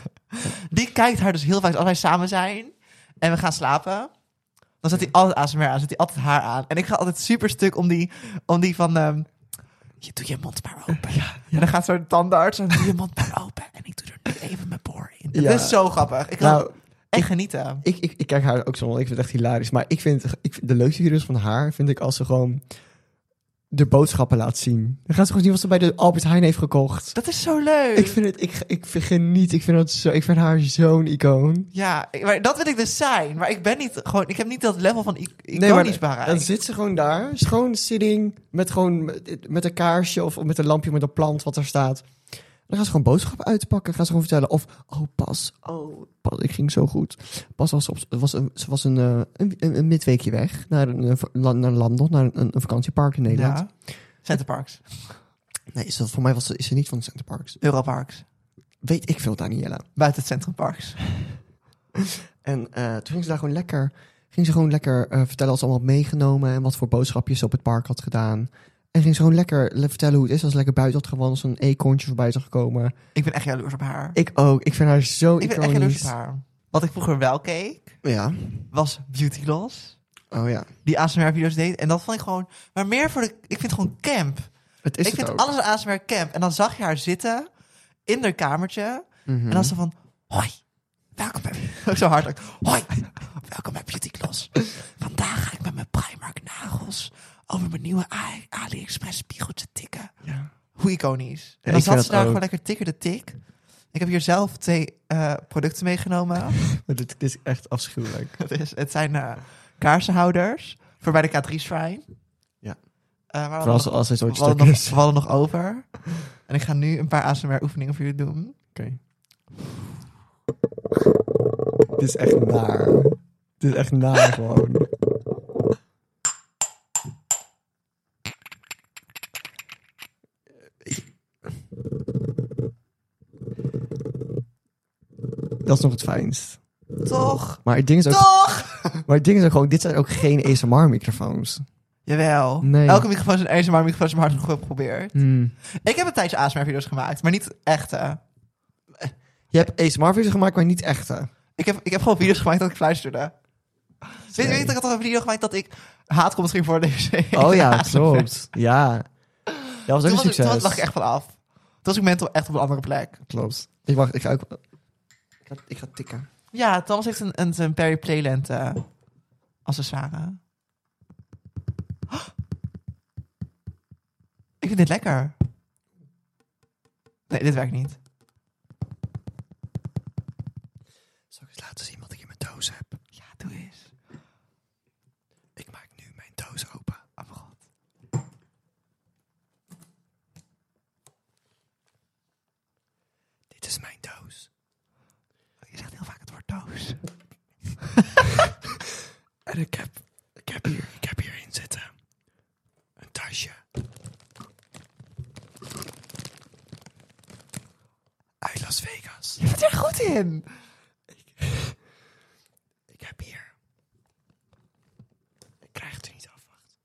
Speaker 1: die kijkt haar dus heel vaak als wij samen zijn en we gaan slapen. Dan zet hij altijd ASMR aan, zet hij altijd haar aan. En ik ga altijd super stuk om die, om die van... ehm, je, doe je mond maar open. En dan gaat zo'n tandarts en doe je mond maar open. En ik doe er nu even mijn boor in.
Speaker 3: Ja.
Speaker 1: Dat is zo grappig. Ik kan
Speaker 3: Nou,
Speaker 1: echt genieten.
Speaker 3: ik, ik, ik kijk haar ook zo, ik vind het echt hilarisch. Maar ik vind, ik vind de leukste video's van haar, vind ik als ze gewoon de boodschappen laat zien. Dan gaat ze gewoon zien wat ze bij de Albert Heijn heeft gekocht.
Speaker 1: Dat is zo leuk.
Speaker 3: Ik vind het, ik, ik vind geniet, ik vind, dat zo, ik vind haar zo'n icoon.
Speaker 1: Ja, ik- maar dat wil ik dus zijn. Maar ik ben niet gewoon, ik heb niet dat level van i-
Speaker 3: Nee, maar
Speaker 1: iconisch bereikt.
Speaker 3: dan zit ze gewoon daar, schoon sitting, met gewoon met- met een kaarsje of met een lampje met een plant wat er staat. Dan gaan ze gewoon boodschappen uitpakken, gaan ze gewoon vertellen of, oh pas, oh pas, ik ging zo goed. Pas was, op, was een, ze was een, eh, een, een, een midweekje weg naar, een, eh, la- naar Landon, naar een, een vakantiepark in Nederland.
Speaker 1: Ja. Center Parks,
Speaker 3: Nee, is dat, voor mij was, ze- is ze niet van de Center Parks.
Speaker 1: Europarks,
Speaker 3: Weet ik veel, Daniela.
Speaker 1: buiten het Centrum Parks.
Speaker 3: En eh, toen ging ze daar gewoon lekker, ging ze gewoon lekker eh, vertellen wat ze allemaal had meegenomen en wat voor boodschapjes ze op het park had gedaan. En ging ze gewoon lekker le- vertellen hoe het is als ze lekker buiten had gewandeld, zo'n eekhoorntje voorbij zag gekomen.
Speaker 1: Ik ben echt jaloers op haar. Ik,
Speaker 3: Ik ook, ik vind haar zo
Speaker 1: ben echt jaloers op
Speaker 3: iconisch.
Speaker 1: haar. Wat ik vroeger wel keek,
Speaker 3: Ja,
Speaker 1: was Beauty Gloss.
Speaker 3: oh ja.
Speaker 1: Die ASMR-video's deed. En dat vond ik gewoon... Maar meer voor de... Ik vind gewoon camp.
Speaker 3: Het is
Speaker 1: ik
Speaker 3: het
Speaker 1: vind
Speaker 3: ook.
Speaker 1: alles een ASMR camp. En dan zag je haar zitten in haar kamertje.
Speaker 3: Mhm.
Speaker 1: En dan ze van... Hoi, welkom bij... Zo hard ook. Hoi, welkom bij Beauty Gloss. Vandaag ga ik met mijn Primark nagels... over mijn nieuwe A- AliExpress spiegeltje tikken.
Speaker 3: Ja.
Speaker 1: Hoe iconisch. En
Speaker 3: ik
Speaker 1: dan
Speaker 3: vind
Speaker 1: zat
Speaker 3: dat
Speaker 1: ze daar
Speaker 3: ook.
Speaker 1: gewoon lekker tikker de tik. Ik heb hier zelf twee eh, producten meegenomen.
Speaker 3: Maar dit, dit is echt afschuwelijk.
Speaker 1: Het, is, het zijn eh, kaarsenhouders voor bij de K3-shrine.
Speaker 3: Ja.
Speaker 1: Eh, maar we
Speaker 3: Vooral als,
Speaker 1: hadden
Speaker 3: als het
Speaker 1: nog-
Speaker 3: ooit
Speaker 1: we hadden
Speaker 3: stuk
Speaker 1: nog-
Speaker 3: is.
Speaker 1: we hadden nog over. En ik ga nu een paar ASMR-oefeningen voor jullie doen.
Speaker 3: Oké. Dit is echt naar. Dit is echt naar gewoon. Dat is nog het fijnst.
Speaker 1: Toch?
Speaker 3: Maar het ding is ook,
Speaker 1: Toch?
Speaker 3: maar het ding is ook gewoon, dit zijn ook geen ASMR-microfoons.
Speaker 1: Jawel.
Speaker 3: Nee.
Speaker 1: Elke microfoon is een ASMR-microfoon, maar hard geprobeerd.
Speaker 3: Hmm.
Speaker 1: Ik heb een tijdje ASMR-video's gemaakt, maar niet echte.
Speaker 3: Je hebt ASMR-video's gemaakt, maar niet echte.
Speaker 1: Ik heb, ik heb gewoon video's gemaakt dat ik fluisterde. Weet je, weet je, ik had toch een video gemaakt dat ik haat komt ging voor deze.
Speaker 3: Oh ja, klopt. Ja. Dat was ook
Speaker 1: Toen,
Speaker 3: een
Speaker 1: was ik,
Speaker 3: succes.
Speaker 1: toen lag ik echt van af. Toen was ik mental echt op een andere plek.
Speaker 3: Klopt. Ik wacht, ik ga ook... Ik ga, ik ga tikken.
Speaker 1: Ja, Thomas heeft een, een, een Perry Playland eh, accessoire. Oh. Ik vind dit lekker. Nee, dit werkt niet.
Speaker 3: Zal ik eens laten zien wat ik in mijn doos heb?
Speaker 1: Ja, doe eens.
Speaker 3: Ik maak nu mijn doos open. Ah,
Speaker 1: Oh mijn god.
Speaker 3: Dit is mijn doos. Oh,
Speaker 1: Je zegt heel vaak het woord doos.
Speaker 3: En ik heb, ik heb, hier, ik heb hierin zitten een tasje. Uit Las Vegas.
Speaker 1: Je bent er goed in.
Speaker 3: Ik heb hier. Ik krijg het er niet af. Wacht.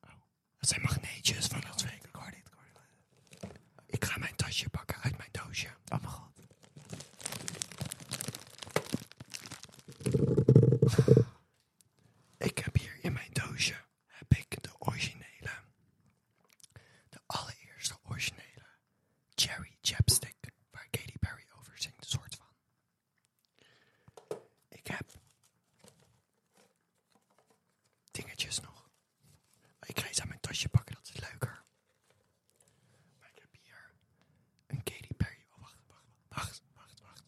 Speaker 3: Oh, dat zijn magneetjes van Las Vegas. Ik hoor dit, ik hoor dit. Ik ga mijn tasje pakken uit mijn doosje.
Speaker 1: Oh mijn god.
Speaker 3: Ik heb hier in mijn doosje heb ik de originele, de allereerste originele cherry chapstick waar Katy Perry over zingt, een soort van. Ik heb dingetjes nog. Ik ga iets uit mijn tasje pakken, dat is leuker. Maar ik heb hier een Katy Perry. Oh, wacht, wacht, wacht, wacht, wacht.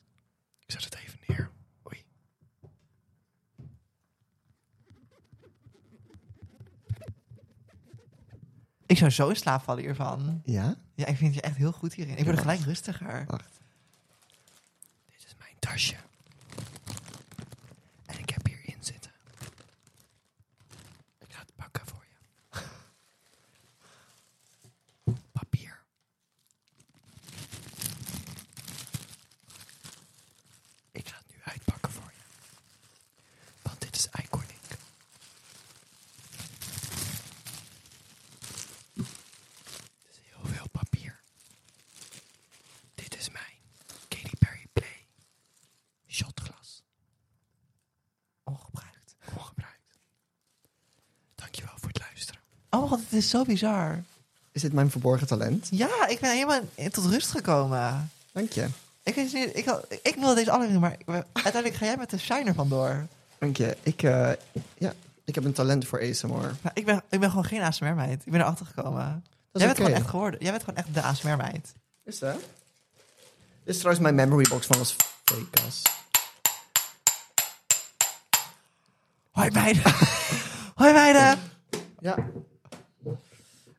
Speaker 3: Ik zet het even neer. Oei.
Speaker 1: Ik zou zo in slaap vallen hiervan.
Speaker 3: Ja?
Speaker 1: Ja, ik vind je echt heel goed hierin. Ik word er gelijk rustiger.
Speaker 3: Wacht. Dit is mijn tasje. En ik heb hierin zitten. Ik ga het pakken voor je. Papier. Ik ga het nu uitpakken voor je. Want dit is iconic. Het is heel veel papier. Dit is mijn Katy Perry Play shotglas.
Speaker 1: Ongebruikt.
Speaker 3: Ongebruikt. Dankjewel voor het luisteren.
Speaker 1: Oh mijn god, het is zo bizar.
Speaker 3: is dit mijn verborgen talent?
Speaker 1: Ja, ik ben helemaal in- tot rust gekomen.
Speaker 3: Dank je.
Speaker 1: Ik, wist niet, ik, had- ik wilde deze aflevering, maar ik- uiteindelijk ga jij met de shiner vandoor.
Speaker 3: Dank je. Ik, eh, ja, ik heb een talent voor ASMR.
Speaker 1: Nou, ik, ben, ik ben gewoon geen ASMR-meid. Ik ben erachter gekomen.
Speaker 3: is
Speaker 1: Jij bent
Speaker 3: oké.
Speaker 1: gewoon echt geworden. Jij bent gewoon echt de ASMR-meid.
Speaker 3: Is dat? Dit is trouwens mijn memory box van Las Vegas.
Speaker 1: Hoi meiden. Hoi meiden.
Speaker 3: Ja.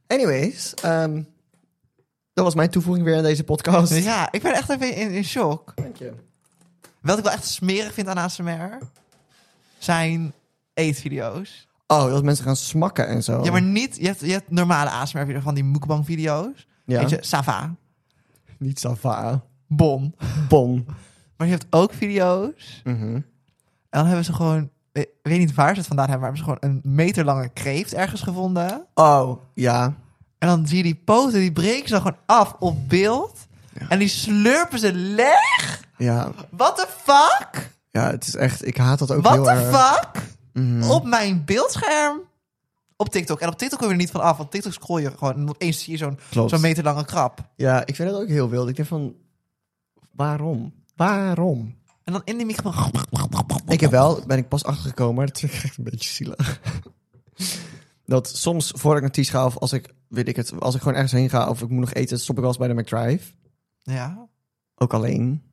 Speaker 3: Anyways, ehm, dat was mijn toevoeging weer aan deze podcast.
Speaker 1: Dus Ja, ik ben echt even in, in shock.
Speaker 3: Dank je.
Speaker 1: Wat ik wel echt smerig vind aan ASMR zijn eetvideo's.
Speaker 3: Oh, dat mensen gaan smakken en zo.
Speaker 1: Ja, maar niet. Je hebt, je hebt normale ASMR-video's van die mukbang-video's.
Speaker 3: Ja.
Speaker 1: Weet je, Sava,
Speaker 3: Niet Sava.
Speaker 1: Bon.
Speaker 3: Bon.
Speaker 1: Maar je hebt ook video's.
Speaker 3: Mhm.
Speaker 1: En dan hebben ze gewoon. Ik weet niet waar ze het vandaan hebben, maar hebben ze gewoon een meterlange kreeft ergens gevonden.
Speaker 3: Oh, ja.
Speaker 1: En dan zie je die poten, die breken ze dan gewoon af op beeld. En die slurpen ze leeg.
Speaker 3: Ja.
Speaker 1: What the fuck?
Speaker 3: Ja, het is echt... Ik haat dat ook
Speaker 1: What
Speaker 3: heel
Speaker 1: the
Speaker 3: erg.
Speaker 1: fuck?
Speaker 3: Mhm.
Speaker 1: Op mijn beeldscherm. Op TikTok. En op TikTok kom je er niet van af, want TikTok scroll je gewoon. En opeens zie je zo'n
Speaker 3: Klopt.
Speaker 1: zo'n meterlange krab.
Speaker 3: Ja, ik vind dat ook heel wild. Ik denk van... Waarom? Waarom?
Speaker 1: En dan in die microfoon.
Speaker 3: Ik heb wel, ben ik pas achtergekomen, maar dat vind ik echt een beetje zielig. Dat soms, voor ik naar Ties ga, of als ik, weet ik het, als ik gewoon ergens heen ga, of ik moet nog eten, stop ik wel eens bij de McDrive.
Speaker 1: Ja.
Speaker 3: Ook alleen.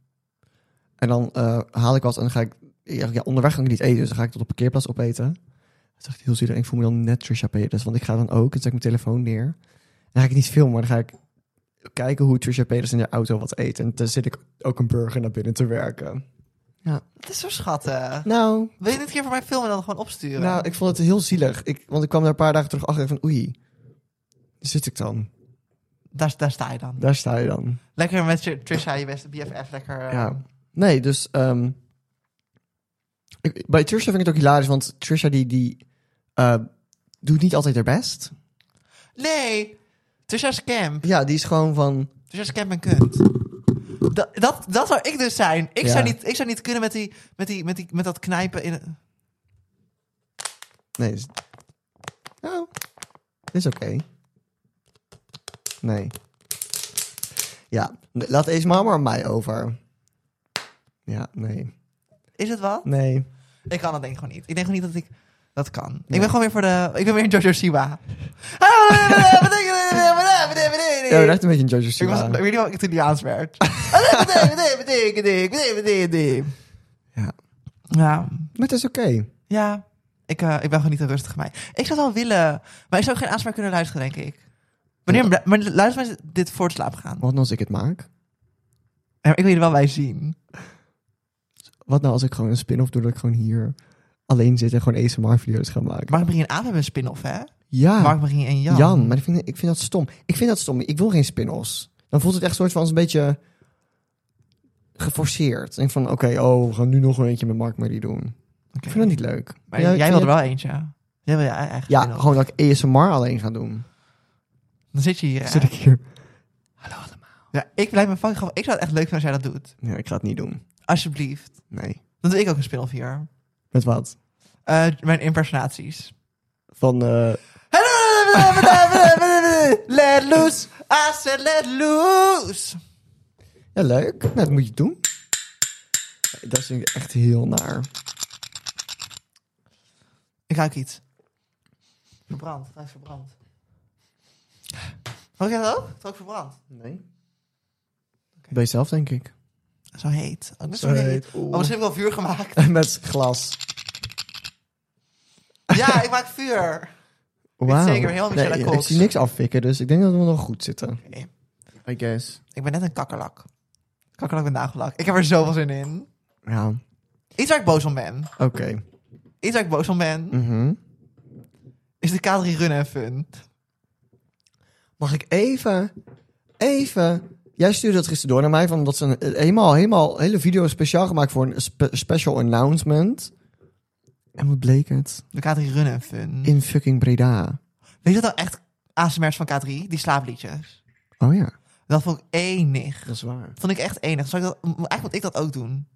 Speaker 3: En dan eh, haal ik wat en dan ga ik, ja, ja, onderweg kan ik niet eten, dus dan ga ik tot op de parkeerplaats opeten. Dat is echt heel zielig. En ik voel me dan net Trisha Paytas, want ik ga dan ook, en zet ik mijn telefoon neer. Dan ga ik het niet filmen, maar dan ga ik kijken hoe Trisha Paytas in de auto wat eet. En dan zit ik ook een burger naar binnen te werken.
Speaker 1: Dat is zo schattig.
Speaker 3: Nou,
Speaker 1: Wil je dit een keer voor mij filmen en dan gewoon opsturen?
Speaker 3: Nou, ik vond het heel zielig. Ik, want ik kwam daar een paar dagen terug achter van oei, daar zit ik dan.
Speaker 1: daar, daar sta je dan.
Speaker 3: Daar sta je dan.
Speaker 1: Lekker met je- Trisha, je beste BFF. Lekker. eh,
Speaker 3: Ja. Nee, dus ehm, ik, bij Trisha vind ik het ook hilarisch, want Trisha die, die eh, doet niet altijd haar best.
Speaker 1: Nee. Trisha's camp.
Speaker 3: Ja, die is gewoon van,
Speaker 1: Trisha's camp en kunt. Dat, dat, dat zou ik dus zijn. Ik,
Speaker 3: Ja.
Speaker 1: zou, niet, ik zou niet kunnen met, die, met, die, met, die, met dat knijpen in...
Speaker 3: nee, is, nou, is oké. Nee. Ja, laat deze maar maar aan mij over. Ja, nee.
Speaker 1: Is het wat?
Speaker 3: Nee.
Speaker 1: Ik kan dat denk ik gewoon niet. Ik denk gewoon niet dat ik dat kan. Ik
Speaker 3: Nee.
Speaker 1: ben gewoon weer voor de... Ik ben weer een Jojo Siwa.
Speaker 3: Ja, we echt een beetje een Jojo
Speaker 1: Ik, was,
Speaker 3: Siwa.
Speaker 1: ik weet niet wat ik Italiaans werd.
Speaker 3: Ja. Maar
Speaker 1: Ja,
Speaker 3: het is oké.
Speaker 1: ja. Ik, eh, ik ben gewoon niet een rustige mij. Ik zou het wel willen, maar ik zou ook geen aanspraak kunnen luisteren, denk ik. Wanneer, maar luister mensen dit voor het slapen gaan.
Speaker 3: Wat nou als ik het maak?
Speaker 1: Ja, maar Ik wil je er wel bij zien.
Speaker 3: Wat nou als ik gewoon een spin-off doe dat ik gewoon hier alleen zit en gewoon ASMR-video's ga maken?
Speaker 1: Mark Marie en Aap hebben een spin-off, hè?
Speaker 3: ja,
Speaker 1: Mark Marie en Jan.
Speaker 3: Ah. Jan. maar ik vind, ik vind dat stom. Ik vind dat stom. Ik wil geen spin-offs. Dan voelt het echt soort van als een beetje geforceerd. En van, oké, oh, we gaan nu nog een eentje met Mark Marie doen.
Speaker 1: Oké.
Speaker 3: Ik vind dat niet leuk.
Speaker 1: Maar
Speaker 3: Ja, ik
Speaker 1: jij
Speaker 3: vind
Speaker 1: wil er wel eentje. Jij wil je eigen
Speaker 3: het- Ja,
Speaker 1: spin-off.
Speaker 3: gewoon dat ik ASMR alleen ga doen.
Speaker 1: Dan zit je hier, hè?
Speaker 3: Zit ik hier?
Speaker 1: Ja, ik blijf me fucking grappig. Ik zou het echt leuk vinden als jij dat doet.
Speaker 3: Nee, ik ga het niet doen.
Speaker 1: Alsjeblieft.
Speaker 3: Nee.
Speaker 1: Dan doe ik ook een spin-off hier.
Speaker 3: Met wat?
Speaker 1: Eh, mijn impersonaties.
Speaker 3: Van, eh,
Speaker 1: Let loose. I said let loose.
Speaker 3: ja, leuk. Nou, dat moet je doen. Dat vind ik echt heel naar.
Speaker 1: Ik ruik iets. Verbrand. Hij is verbrand. Rook jij dat ook? Het rook verbrand.
Speaker 3: Nee. Bij jezelf, denk ik.
Speaker 1: Zo heet. Oh, net zo heet. Oh, misschien heb ik wel vuur gemaakt.
Speaker 3: Met glas.
Speaker 1: Ja, ik maak vuur.
Speaker 3: Wauw.
Speaker 1: zeker, heel Michelle
Speaker 3: Nee, ik
Speaker 1: Cox.
Speaker 3: zie niks afvikken, dus ik denk dat we nog goed zitten.
Speaker 1: Oké.
Speaker 3: I guess.
Speaker 1: Ik ben net een kakkerlak. Kakkerlak met nagellak. Ik heb er zoveel zin in.
Speaker 3: Ja,
Speaker 1: Iets waar ik boos om ben.
Speaker 3: oké.
Speaker 1: Iets waar ik boos om ben.
Speaker 3: Mhm.
Speaker 1: Is de K3 Run en Fun.
Speaker 3: Mag ik even, even... Jij stuurde dat gisteren door naar mij, van dat ze een, eh, helemaal, helemaal hele video speciaal gemaakt voor een spe- special announcement. En wat bleek het?
Speaker 1: De K3 Run en Fun.
Speaker 3: In fucking Breda.
Speaker 1: Weet je dat dan echt ASMR's van K3? Die slaapliedjes.
Speaker 3: Oh ja,
Speaker 1: Dat vond ik enig.
Speaker 3: dat is waar.
Speaker 1: Dat vond ik echt enig. Zou ik dat, m- eigenlijk moet ik dat ook doen.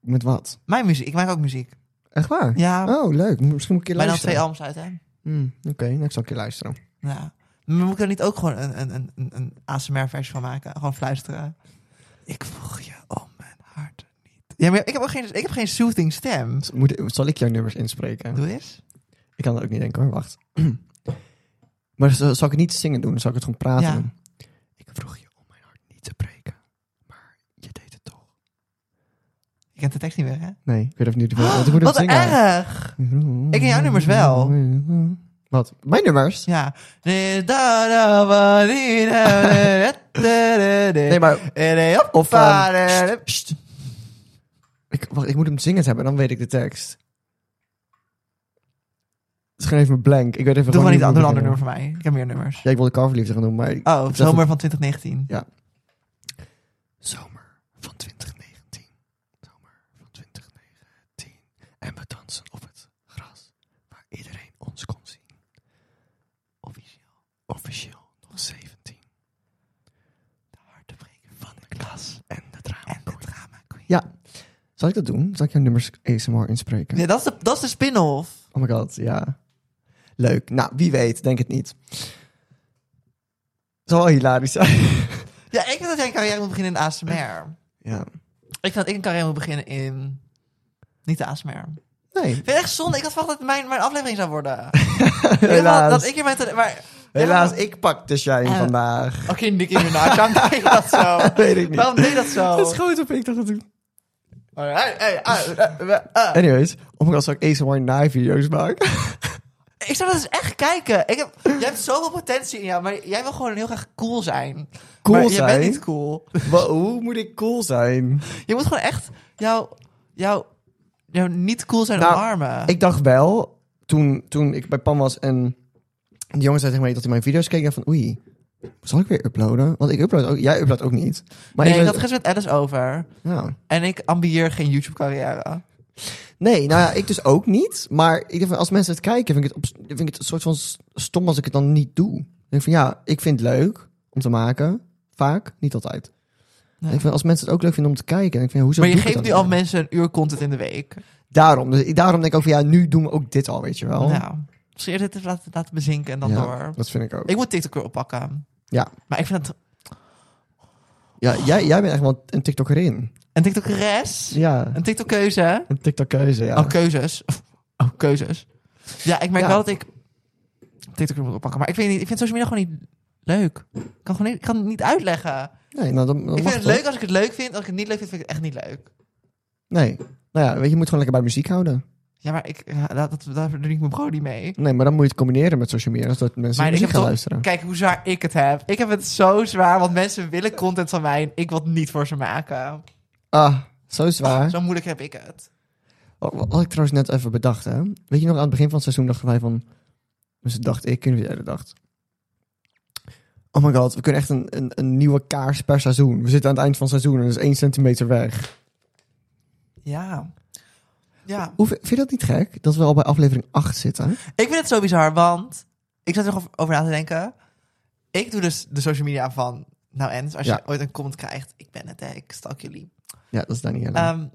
Speaker 3: Met wat?
Speaker 1: Mijn muziek. Ik maak ook muziek.
Speaker 3: Echt waar?
Speaker 1: Ja,
Speaker 3: Oh, leuk. Misschien moet ik je
Speaker 1: bijna
Speaker 3: luisteren.
Speaker 1: twee albums uit, hè?
Speaker 3: Hmm, Oké, nou, ik zal een keer luisteren.
Speaker 1: Ja. Maar moet ik er niet ook gewoon een, een, een, een- een ASMR-versie van maken? Gewoon fluisteren. Ik vroeg je om mijn hart niet. Ja, maar ik heb ook geen, ik heb geen soothing stem.
Speaker 3: Z- Moet, zal ik jouw nummers inspreken?
Speaker 1: Doe eens.
Speaker 3: Ik kan dat ook niet denken hoor, wacht. maar z- zal ik het niet zingen doen? Zal ik het gewoon praten
Speaker 1: Ja.
Speaker 3: doen? Ik vroeg je om mijn hart niet te breken, maar je deed het toch.
Speaker 1: Je kent de tekst niet meer, hè?
Speaker 3: Nee, ik weet even niet hoeveel- want ik moet
Speaker 1: Wat
Speaker 3: het zingen.
Speaker 1: erg! Ik ken jouw nummers wel.
Speaker 3: Wat? Mijn nummers?
Speaker 1: Ja. Nee,
Speaker 3: Nee, maar... Of...
Speaker 1: Of...
Speaker 3: ehm, sst, sst. Ik, wacht, ik moet hem zingend hebben, dan weet ik de tekst. Het is gewoon even blank. Ik weet even
Speaker 1: Doe
Speaker 3: gewoon
Speaker 1: maar niet een ander,
Speaker 3: hoe ik
Speaker 1: ander
Speaker 3: moet
Speaker 1: nummer
Speaker 3: beginnen.
Speaker 1: van mij. Ik heb meer nummers.
Speaker 3: Ja, ik wilde coverliefde gaan doen, maar... ik-
Speaker 1: Oh,
Speaker 3: dacht
Speaker 1: zomer van 2019.
Speaker 3: Zomer van 2019. Zomer van 2019. En we dansen op het gras waar iedereen ons kon zien. Officieel. Officieel nog 17. De harten breken van de klas. En de drama En de drama Ja. Zal ik dat doen? Zal ik jouw nummers ASMR inspreken?
Speaker 1: Ja, dat is de, dat is de spin-off.
Speaker 3: Oh my god, ja. Leuk. Nou, wie weet. Denk het niet. Het zal wel hilarisch zijn.
Speaker 1: Ja, ik vind dat jij een carrière moet beginnen in ASMR.
Speaker 3: ja.
Speaker 1: Ik vind dat ik een carrière moet beginnen in... Niet de ASMR.
Speaker 3: Nee,
Speaker 1: Ik vind het echt zonde. Ik had verwacht dat het mijn, mijn aflevering zou worden. Ik had verwacht
Speaker 3: helaas.
Speaker 1: dat ik hier met... Maar...
Speaker 3: Helaas, ik pak de shine
Speaker 1: Eh.
Speaker 3: vandaag.
Speaker 1: Oké, Nicky Minaj, waarom deed je dat zo?
Speaker 3: Weet ik niet.
Speaker 1: Waarom deed je dat zo?
Speaker 3: Dat is goed op ik dacht dat doen.
Speaker 1: Hey, hey, ah, eh, eh, ah.
Speaker 3: Anyways, om ik zal ik ASMR naai video's maken.
Speaker 1: Ik zou dat eens echt kijken. Ik heb, jij hebt zoveel potentie in jou, maar jij wil gewoon heel graag cool zijn.
Speaker 3: Cool
Speaker 1: maar Je
Speaker 3: zijn?
Speaker 1: bent niet cool.
Speaker 3: Wa- Hoe moet ik cool zijn?
Speaker 1: Je moet gewoon echt jouw jou, jou niet cool zijn
Speaker 3: Nou,
Speaker 1: omarmen.
Speaker 3: Ik dacht wel, toen, toen ik bij Pan was en die jongen zei tegen mij dat hij mijn video's keek, dacht van oei, zal ik weer uploaden? Want ik upload ook, jij uploadt ook niet. Maar
Speaker 1: nee,
Speaker 3: ik
Speaker 1: ik had
Speaker 3: ben-
Speaker 1: het gisteren met Alice over.
Speaker 3: ja.
Speaker 1: En ik ambieer geen YouTube-carrière.
Speaker 3: Nee, nou ja, ik dus ook niet. Maar ik denk van, als mensen het kijken, vind ik het, op, vind ik het een soort van s- stom als ik het dan niet doe. Ik denk van ja, ik vind het leuk om te maken. Vaak, niet altijd.
Speaker 1: Ja.
Speaker 3: Ik vind, als mensen het ook leuk vinden om te kijken, denk ik van, ja, hoezo
Speaker 1: Maar je
Speaker 3: doe ik
Speaker 1: geeft
Speaker 3: het
Speaker 1: nu
Speaker 3: dan
Speaker 1: al
Speaker 3: niet?
Speaker 1: mensen een uur content in de week.
Speaker 3: Daarom, dus, ik- daarom denk ik ook van ja, nu doen we ook dit al, weet je wel.
Speaker 1: Nou, misschien eerst dit laten, laten bezinken en dan
Speaker 3: Oh. Ja,
Speaker 1: door.
Speaker 3: Dat vind ik ook.
Speaker 1: Ik moet TikTok weer oppakken.
Speaker 3: Ja.
Speaker 1: Maar ik vind dat...
Speaker 3: Ja, jij, jij bent echt wel een TikToker in.
Speaker 1: Een TikTokeres,
Speaker 3: Ja,
Speaker 1: een TikTok-keuze...
Speaker 3: een TikTok-keuze, ja.
Speaker 1: Oh, keuzes. Oh, keuzes. Ja, ik merk
Speaker 3: Ja.
Speaker 1: wel dat ik TikTok weer moet oppakken. Maar ik vind, niet, ik vind social media gewoon niet leuk. Ik kan, gewoon niet, ik kan het niet uitleggen.
Speaker 3: Nee, nou, dan, dan
Speaker 1: ik
Speaker 3: mag
Speaker 1: vind het
Speaker 3: toch?
Speaker 1: leuk als ik het leuk vind. Als ik het niet leuk vind, vind ik het echt niet leuk.
Speaker 3: Nee. Nou ja, weet je, je moet gewoon lekker bij muziek houden.
Speaker 1: Ja, maar ik, ja, dat, dat, daar verdien ik mijn broodie mee.
Speaker 3: Nee, maar dan moet je het combineren met social media, zodat mensen
Speaker 1: Maar ik
Speaker 3: muziek
Speaker 1: heb
Speaker 3: gaan
Speaker 1: toch-
Speaker 3: luisteren.
Speaker 1: Kijk hoe zwaar ik het heb. Ik heb het zo zwaar, want mensen willen content van mij en ik wil het niet voor ze maken.
Speaker 3: Ah, zo zwaar.
Speaker 1: Zo moeilijk heb ik het.
Speaker 3: Wat, wat had ik trouwens net even bedacht, hè? Weet je nog, aan het begin van het seizoen dachten wij van... Dus dacht ik, kunnen we jij dat dacht. Oh my god, we kunnen echt een, een, een nieuwe kaars per seizoen. We zitten aan het eind van het seizoen en dat is één centimeter weg.
Speaker 1: Ja. Ja.
Speaker 3: Hoe, vind je dat niet gek? Dat we al bij aflevering 8 zitten.
Speaker 1: Ik vind het zo bizar, want ik zat er nog over na te denken. Ik doe dus de social media van nou en als
Speaker 3: Ja.
Speaker 1: je ooit een comment krijgt, ik ben het, hè, ik stalk jullie.
Speaker 3: Ja, dat is daar niet aan.
Speaker 1: Ehm,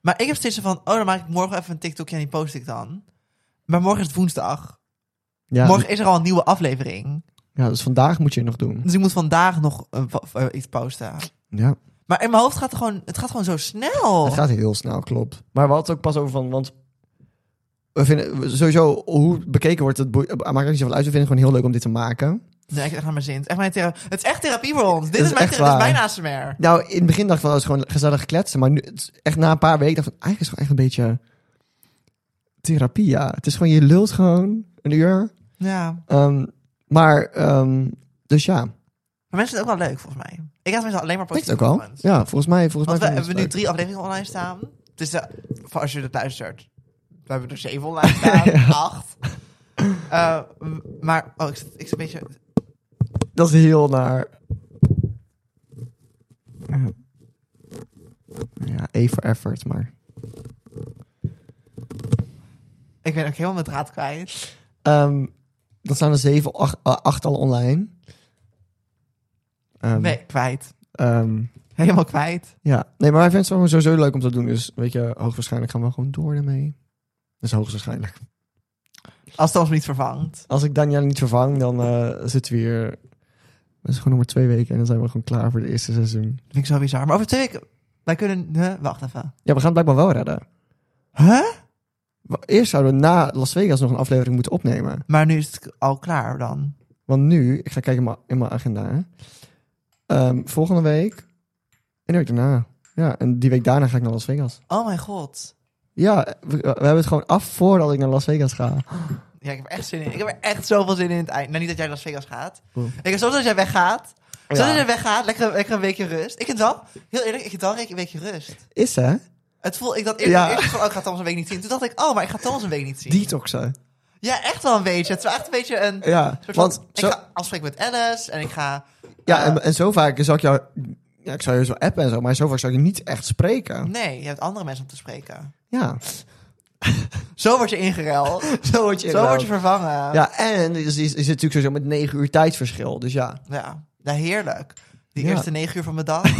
Speaker 1: maar ik heb steeds zo van, oh, dan maak ik morgen even een TikTokje en die post ik dan. Maar morgen is het woensdag.
Speaker 3: ja,
Speaker 1: Morgen is er al een nieuwe aflevering.
Speaker 3: ja, dus vandaag moet je het nog doen.
Speaker 1: Dus ik moet vandaag nog een po- eh, iets posten.
Speaker 3: Ja,
Speaker 1: Maar in mijn hoofd gaat het gewoon, het gaat gewoon zo snel.
Speaker 3: het gaat heel snel, klopt. Maar we hadden het ook pas over van... Want we vinden we- sowieso hoe het bekeken wordt, het boeit- maakt er niet zoveel uit. We vinden het gewoon heel leuk om dit te maken.
Speaker 1: Nee, ik echt aan mijn zin. Het is echt mijn thera- het is echt therapie voor ons. Dit
Speaker 3: is
Speaker 1: is, mijn,
Speaker 3: echt
Speaker 1: thera- dit is
Speaker 3: waar.
Speaker 1: mijn ASMR.
Speaker 3: Nou, in het begin dacht ik wel, dat is gewoon gezellig kletsen. Maar nu, het is echt na een paar weken dacht ik, van, eigenlijk is het gewoon echt een beetje therapie, ja. Het is gewoon, je lult gewoon een uur.
Speaker 1: Ja.
Speaker 3: Ehm, maar, ehm, dus ja, ik
Speaker 1: Maar mensen vinden het ook wel leuk, volgens mij. Ik had mensen alleen maar
Speaker 3: denk het
Speaker 1: positieve
Speaker 3: ook al.
Speaker 1: comments.
Speaker 3: Ja, volgens mij, volgens
Speaker 1: Want we
Speaker 3: mij.
Speaker 1: hebben
Speaker 3: vinden
Speaker 1: nu
Speaker 3: mensen
Speaker 1: drie afleveringen online staan. Dus eh, voor als je het luistert, we hebben er zeven online staan. Acht. Eh, m- maar, oh, ik zit, ik zit een beetje...
Speaker 3: leuk. Dat is heel naar. Ja, E voor effort, maar...
Speaker 1: Ik ben ook helemaal mijn draad kwijt.
Speaker 3: Ehm dan staan er zeven, acht, eh, acht al online. Ehm,
Speaker 1: Nee, kwijt.
Speaker 3: ehm,
Speaker 1: Helemaal kwijt.
Speaker 3: Ja, nee, maar wij vinden het gewoon sowieso leuk om te doen. Dus weet je, hoogwaarschijnlijk gaan we gewoon door daarmee. Dat is hoogstwaarschijnlijk.
Speaker 1: Als Thomas me niet vervangt.
Speaker 3: Als ik Daniel niet vervang, dan eh, zitten we hier... Het is gewoon nog maar twee weken en dan zijn we gewoon klaar voor het eerste seizoen.
Speaker 1: Dat vind ik zo bizar. Maar over twee weken... Wij kunnen... Huh? Wacht even.
Speaker 3: Ja, we gaan het blijkbaar wel redden.
Speaker 1: Huh?
Speaker 3: Wa- Eerst zouden we na Las Vegas nog een aflevering moeten opnemen.
Speaker 1: Maar nu is het al klaar dan.
Speaker 3: Want nu, ik ga kijken in mijn- in mijn agenda. hè. Ehm, volgende week en de week daarna. Ja, en die week daarna ga ik naar Las Vegas.
Speaker 1: Oh mijn god.
Speaker 3: Ja, we, we hebben het gewoon af voordat ik naar Las Vegas ga.
Speaker 1: Ja, ik heb er echt zin in. Ik heb er echt zoveel zin in het eind. Nou, niet dat jij naar Las Vegas gaat.
Speaker 3: Oeh.
Speaker 1: Ik heb soms als jij weggaat. Soms
Speaker 3: Ja.
Speaker 1: als jij weggaat, lekker, lekker een weekje rust. Ik vind dan, heel eerlijk, ik vind dan een weekje rust.
Speaker 3: Is hè?
Speaker 1: Het voel ik dat eerst,
Speaker 3: Ja.
Speaker 1: eerst van, oh, ik ga Thomas een week niet zien. Toen dacht ik, oh, maar ik ga Thomas een week niet zien.
Speaker 3: Detoxen.
Speaker 1: Ja, echt wel een beetje. Het is wel echt een beetje een...
Speaker 3: Ja,
Speaker 1: soort van,
Speaker 3: want zo,
Speaker 1: Ik ga afspreken met Alice en ik ga...
Speaker 3: ja, en, en zo vaak zou ik jou... Ja, ik zou je zo appen en zo, maar zo vaak zou ik je niet echt spreken.
Speaker 1: Nee, je hebt andere mensen om te spreken.
Speaker 3: Ja.
Speaker 1: Zo word je ingereld.
Speaker 3: Zo word
Speaker 1: Zo word je vervangen. Ja.
Speaker 3: Ja, en er is, is, is natuurlijk sowieso met negen uur tijdsverschil. Dus ja.
Speaker 1: ja. heerlijk. Die
Speaker 3: Ja.
Speaker 1: eerste negen uur van mijn dag,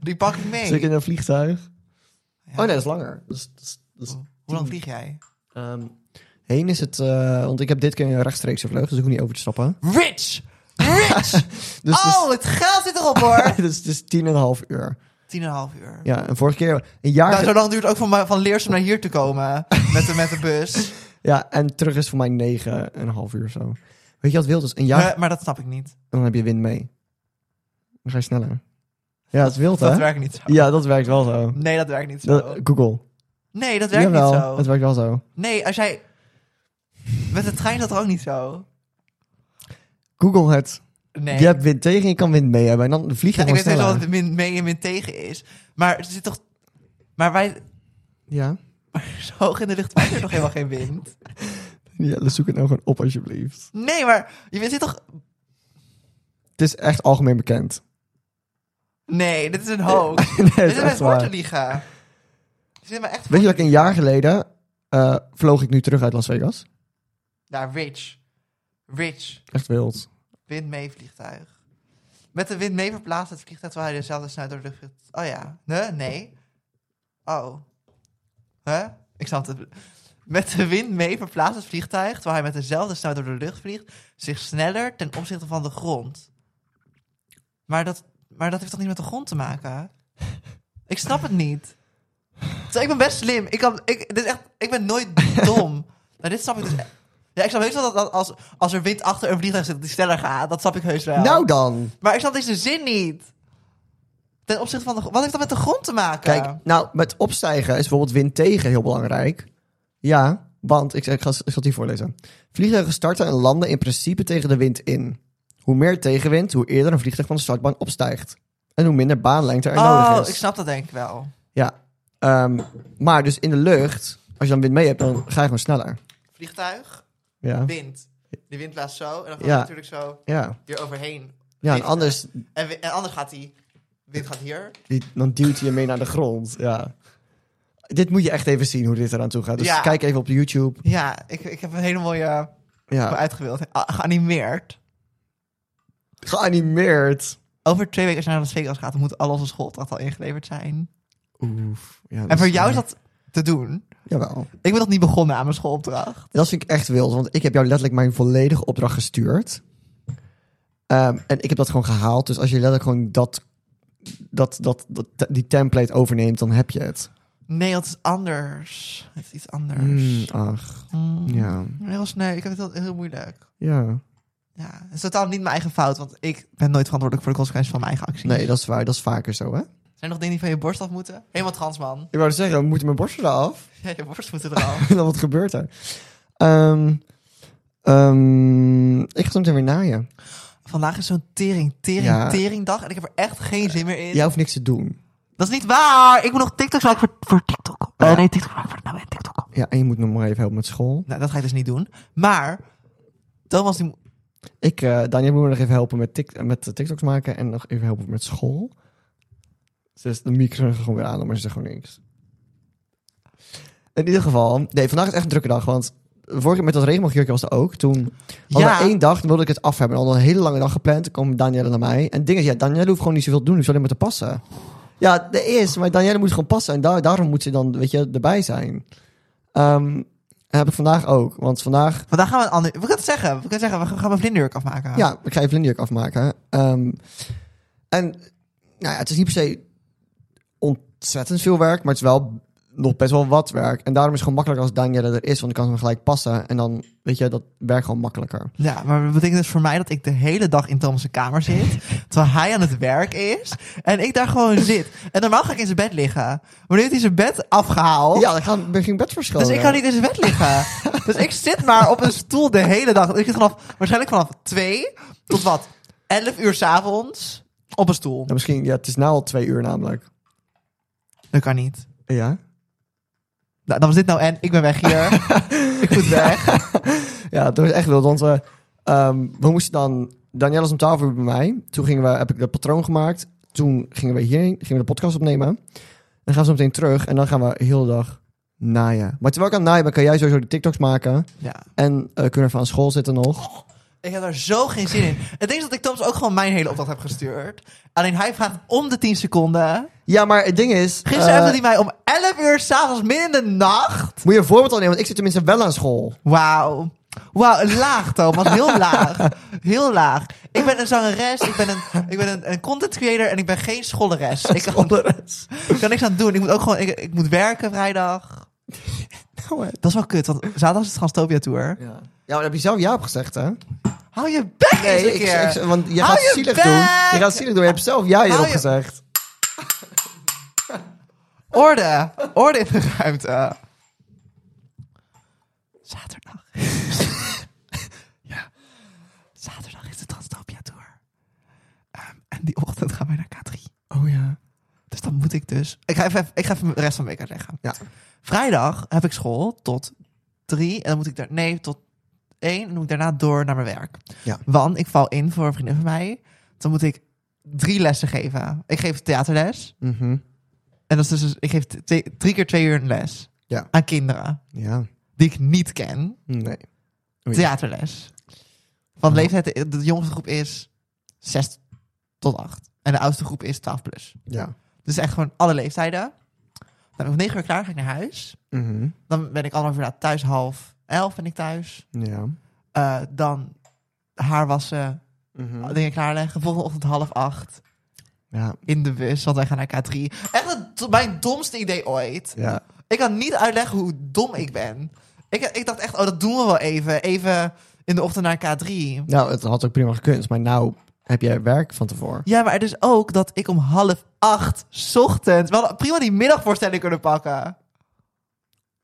Speaker 1: die pak ik mee.
Speaker 3: Zit ik in een vliegtuig?
Speaker 1: Ja.
Speaker 3: Oh nee, dat is langer. Dat is- dat is- dat is
Speaker 1: Hoe lang vlieg jij?
Speaker 3: Ehm, heen is het, eh, want ik heb dit keer een rechtstreekse vlucht, dus ik hoef niet over te stappen.
Speaker 1: Rich! Rich!
Speaker 3: Dus het
Speaker 1: oh, het geld zit erop hoor!
Speaker 3: is, dus het is tien en een half uur.
Speaker 1: Tien en een half uur.
Speaker 3: Ja, en vorige keer een jaar.
Speaker 1: Nou, zo lang duurt het ook van, mijn- van Leersum naar hier te komen. Met de, met de bus.
Speaker 3: Ja, en terug is voor mij negen en een half uur zo. Weet je wat wild is? Een jaar,
Speaker 1: Maar, maar dat snap ik niet.
Speaker 3: dan heb je wind mee. Dan ga je sneller. Ja, het is wild, hè?
Speaker 1: Dat werkt niet zo.
Speaker 3: Ja, dat werkt wel zo.
Speaker 1: Nee, dat werkt niet zo.
Speaker 3: Dat- Google.
Speaker 1: Nee, dat werkt
Speaker 3: Jawel,
Speaker 1: niet zo.
Speaker 3: het werkt wel zo.
Speaker 1: Nee, als jij... Met de trein is dat er ook niet zo.
Speaker 3: Google het.
Speaker 1: Nee.
Speaker 3: Je hebt wind tegen, je kan wind mee hebben. En dan vlieg je
Speaker 1: Ja,
Speaker 3: gewoon
Speaker 1: ik weet niet
Speaker 3: sneller.
Speaker 1: wat het min, mee en min tegen is. Maar er zit toch... Maar wij...
Speaker 3: Ja?
Speaker 1: Zo hoog in de lucht was er nog helemaal geen wind.
Speaker 3: ja, dan zoek het nou gewoon op alsjeblieft.
Speaker 1: Nee, maar je zit toch...
Speaker 3: Het is echt algemeen bekend.
Speaker 1: Nee, dit is een hoax.
Speaker 3: Nee, het
Speaker 1: dit
Speaker 3: is
Speaker 1: is mijn
Speaker 3: echt
Speaker 1: voor te
Speaker 3: waar.
Speaker 1: liegen. Je zit me echt...
Speaker 3: Weet je dat ik een jaar geleden eh, vloog ik nu terug uit Las Vegas?
Speaker 1: Daar, rich. Rich.
Speaker 3: Echt wild.
Speaker 1: Wind mee vliegtuig. Met de wind mee verplaatst het vliegtuig terwijl hij dezelfde snelheid door de lucht vliegt. Oh ja. Nee? Nee. Oh. Huh? Ik snap het. Met de wind mee verplaatst het vliegtuig terwijl hij met dezelfde snelheid door de lucht vliegt. Zich sneller ten opzichte van de grond. Maar dat, maar dat heeft toch niet met de grond te maken? Ik snap het niet. Zo, ik ben best slim. Ik, kan, ik, dit is echt, ik ben nooit dom. maar dit snap ik dus e- Ja, ik snap heus wel dat, dat als, als er wind achter een vliegtuig zit, dat die sneller gaat. Dat snap ik heus wel.
Speaker 3: Nou dan.
Speaker 1: Maar ik snap deze zin niet. Ten opzichte van de gro- Wat heeft dat met de grond te maken?
Speaker 3: Kijk, nou, met opstijgen is bijvoorbeeld wind tegen heel belangrijk. Ja, want, ik, ik, ga, ik zal het hier voorlezen. Vliegtuigen starten en landen in principe tegen de wind in. Hoe meer tegenwind, hoe eerder een vliegtuig van de startbaan opstijgt. En hoe minder baanlengte er
Speaker 1: oh,
Speaker 3: nodig
Speaker 1: ik
Speaker 3: is.
Speaker 1: snap dat denk ik wel.
Speaker 3: Ja. Ehm, maar dus in de lucht, als je dan wind mee hebt, dan ga je gewoon sneller.
Speaker 1: Vliegtuig,
Speaker 3: Ja.
Speaker 1: wind. Die wind blaast zo en dan gaat
Speaker 3: Ja.
Speaker 1: hij natuurlijk zo
Speaker 3: Ja.
Speaker 1: hier overheen.
Speaker 3: Ja, en
Speaker 1: Vliegen.
Speaker 3: anders
Speaker 1: En, wi- en anders gaat die wind gaat hier.
Speaker 3: Die, dan duwt hij je mee naar de grond. Ja. Dit moet je echt even zien hoe dit eraan toe gaat. Dus
Speaker 1: Ja.
Speaker 3: kijk even op YouTube.
Speaker 1: Ja, ik, ik heb een hele mooie eh,
Speaker 3: Ja.
Speaker 1: uitgewild. Ah, Geanimeerd.
Speaker 3: Geanimeerd.
Speaker 1: Over twee weken als je naar Las Vegas gaat, dan moet al onze schooldracht al ingeleverd zijn.
Speaker 3: Oef. Ja,
Speaker 1: En voor jou is dat te doen.
Speaker 3: Jawel.
Speaker 1: Ik ben nog niet begonnen aan mijn schoolopdracht.
Speaker 3: Dat vind ik echt wild, want ik heb jou letterlijk mijn volledige opdracht gestuurd. Ehm, en ik heb dat gewoon gehaald. Dus als je letterlijk gewoon dat, dat, dat, dat, die template overneemt, dan heb je het.
Speaker 1: Nee, dat is anders. Het is iets
Speaker 3: Mm,
Speaker 1: anders.
Speaker 3: ach,
Speaker 1: Mm.
Speaker 3: ja.
Speaker 1: Heel sneu. Ik heb het heel, heel moeilijk.
Speaker 3: Ja.
Speaker 1: Ja, het is totaal niet mijn eigen fout, want ik ben nooit verantwoordelijk voor de consequenties van mijn eigen acties.
Speaker 3: Nee, dat is waar. Dat is vaker zo, hè?
Speaker 1: Zijn er nog dingen die van je borst af moeten? Helemaal trans, man.
Speaker 3: Ik wou dus zeggen, moeten mijn borsten eraf?
Speaker 1: Ja, je borst moeten eraf.
Speaker 3: dan wat gebeurt er? Ehm, ehm, ik ga zo meteen weer naaien.
Speaker 1: Vandaag is zo'n tering, tering,
Speaker 3: Ja.
Speaker 1: teringdag en ik heb er echt geen zin meer in.
Speaker 3: Jij hoeft niks te doen.
Speaker 1: Dat is niet waar. Ik moet nog TikToks maken voor, voor TikTok. Eh,
Speaker 3: Ja.
Speaker 1: nee, TikTok maken voor nou, en TikTok.
Speaker 3: Ja, en je moet nog maar even helpen met school.
Speaker 1: Nou, dat ga ik dus niet doen. Maar Thomas, die... mo-
Speaker 3: Ik, eh Daniel moet me nog even helpen met, tik, eh, met eh, TikToks maken en nog even helpen met school. Dus de micro gewoon weer aan, maar ze zegt gewoon niks. In ieder geval, nee, vandaag is echt een drukke dag, want vorige keer met dat regenboogjurkje was er ook. Toen al
Speaker 1: Ja.
Speaker 3: één dag, dan wilde ik het af hebben. Al een hele lange dag gepland, dan kwam Danielle naar mij. En het ding is, ja, Danielle hoeft gewoon niet zoveel te doen, hoeft alleen maar te passen. Ja, er is, maar Danielle moet gewoon passen en da- daarom moet ze dan, weet je, erbij zijn. Ehm, heb ik vandaag ook. Want vandaag
Speaker 1: Vandaag gaan we een ander... We kunnen het zeggen. We kunnen zeggen, we gaan mijn vlinderjurk afmaken.
Speaker 3: Ja, ik ga even Lindyuk afmaken. Ehm, en nou ja, het is niet per se ontzettend veel werk, maar het is wel nog best wel wat werk. En daarom is het gewoon makkelijker als Danielle er is, want dan kan ze hem gelijk passen. En dan weet je, dat werkt gewoon makkelijker.
Speaker 1: Ja, maar dat betekent dus voor mij dat ik de hele dag in Thomas' kamer zit. terwijl hij aan het werk is. En ik daar gewoon zit. En normaal ga ik in zijn bed liggen. Maar nu heeft hij zijn bed afgehaald.
Speaker 3: Ja, Oh, dan gaan we geen bed verschonen.
Speaker 1: Dus ik kan niet in zijn bed liggen. dus ik zit maar op een stoel de hele dag. Ik zit vanaf, waarschijnlijk vanaf twee tot wat? Elf uur s'avonds op een stoel.
Speaker 3: Ja, misschien, ja, het is nu al twee uur namelijk.
Speaker 1: Dat kan niet.
Speaker 3: Ja?
Speaker 1: Nou, dan was dit nou en ik ben weg hier. ik moet weg.
Speaker 3: Ja, dat was echt wild, want we, ehm, we moesten dan... Danielle was om 12 uur bij mij. Toen gingen we, heb ik dat patroon gemaakt. Toen gingen we hierheen, gingen we de podcast opnemen. Dan gaan we zo meteen terug en dan gaan we heel de dag naaien. Maar terwijl ik aan het naaien ben, kan jij sowieso de TikToks maken.
Speaker 1: Ja.
Speaker 3: En eh, kunnen we van school zitten nog.
Speaker 1: Ik heb daar zo geen zin in. Het ding is dat ik Thomas ook gewoon mijn hele opdracht heb gestuurd. Alleen hij vraagt om de 10 seconden.
Speaker 3: Ja, maar het ding is...
Speaker 1: Gisteren
Speaker 3: eh,
Speaker 1: hebben hij mij om 11 uur s'avonds midden in de nacht.
Speaker 3: Moet je een voorbeeld aan nemen, want ik zit tenminste wel aan school.
Speaker 1: Wauw. Wauw, laag Thomas. Heel laag. Heel laag. Ik ben een zangeres, ik ben een, ik ben een, een content creator en ik ben geen scholeres. Ik kan, ik kan niks aan doen. Ik moet ook gewoon, ik, ik moet werken vrijdag. Dat is wel kut, want zaterdag is het Transtopia Tour.
Speaker 3: Nou, Ja, maar dat heb je zelf ja op gezegd, hè?
Speaker 1: Hou je bek eens een
Speaker 3: ik,
Speaker 1: keer.
Speaker 3: ik- want je
Speaker 1: eh, Hou
Speaker 3: gaat
Speaker 1: je
Speaker 3: zielig
Speaker 1: bek!
Speaker 3: doen. Je gaat zielig doen, je hebt zelf ja hierop
Speaker 1: je-
Speaker 3: gezegd.
Speaker 1: Orde. Orde in de ruimte. Zaterdag. ja. Zaterdag is de Transtopia Tour. Ehm, en die ochtend gaan wij naar K3.
Speaker 3: Oh ja.
Speaker 1: Dus dan moet ik dus... Ik ga even, ik ga even de rest van de week uitleggen.
Speaker 3: Ja.
Speaker 1: Vrijdag heb ik school tot drie. En dan moet ik daar... Nee, tot één. En dan moet ik daarna door naar mijn werk.
Speaker 3: Ja.
Speaker 1: Want ik val in voor een vriendin van mij. Dan moet ik drie lessen geven. Ik geef theaterles.
Speaker 3: Mhm.
Speaker 1: En dat is dus, ik geef t- twee- drie keer twee uur een les.
Speaker 3: Ja.
Speaker 1: Aan kinderen
Speaker 3: Ja.
Speaker 1: die ik niet ken.
Speaker 3: Nee. Oei.
Speaker 1: Theaterles. Van leeftijd, de jongste groep is 6 tot 8. En de oudste groep is 12 plus.
Speaker 3: Ja.
Speaker 1: Dus echt gewoon alle leeftijden. Dan ben ik om 9 uur klaar, ga ik naar huis.
Speaker 3: Mhm.
Speaker 1: Dan ben ik anderhalf uur laat thuis, half 11 ben ik thuis.
Speaker 3: Ja.
Speaker 1: Eh, dan haar wassen,
Speaker 3: Mhm.
Speaker 1: dingen klaarleggen. Volgende ochtend half 8
Speaker 3: Ja.
Speaker 1: in de bus, want wij gaan naar K3. Echt het, mijn domste idee ooit.
Speaker 3: Ja.
Speaker 1: Ik kan niet uitleggen hoe dom ik ben. Ik, ik dacht echt, oh, dat doen we wel even. Even in de ochtend naar K3.
Speaker 3: Nou, het had ook prima gekund, maar nou heb jij werk van tevoren.
Speaker 1: Ja, maar het is ook dat ik om half acht 's ochtends... We hadden prima die middagvoorstelling kunnen pakken.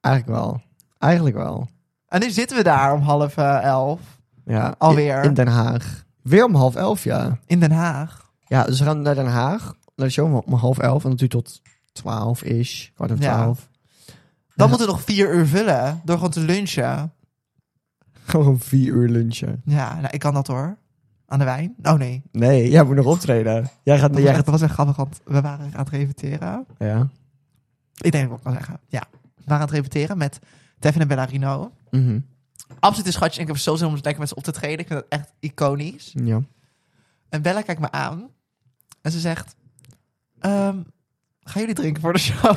Speaker 3: Eigenlijk wel. Eigenlijk wel.
Speaker 1: En nu zitten we daar om half eh, elf
Speaker 3: Ja.
Speaker 1: Alweer.
Speaker 3: In, in Den Haag. Weer om half elf, ja.
Speaker 1: in Den Haag.
Speaker 3: Ja, dus we gaan naar Den Haag. Naar de show om- om half elf. En dat duurt tot twaalf ish. Kwart over
Speaker 1: Ja.
Speaker 3: twaalf.
Speaker 1: Dan
Speaker 3: Ja.
Speaker 1: moeten we nog vier uur vullen door gewoon te lunchen.
Speaker 3: Gewoon vier uur lunchen.
Speaker 1: Ja, nou, ik kan dat hoor. Aan de wijn? Oh nee.
Speaker 3: Nee, jij moet nog optreden. Jij gaat... Jij
Speaker 1: Dat was, echt,
Speaker 3: gaat
Speaker 1: dat was echt grappig, want we waren aan het repeteren.
Speaker 3: ja.
Speaker 1: Ik denk dat ik dat kan zeggen. Ja, we waren aan het repeteren met Devin en Bellarino.
Speaker 3: Mhm.
Speaker 1: absoluut een schatje. En ik heb zo zin om lekker met ze op te treden. Ik vind dat echt iconisch.
Speaker 3: Ja.
Speaker 1: En Bella kijkt me aan. En ze zegt... "Ehm, gaan jullie drinken voor de show?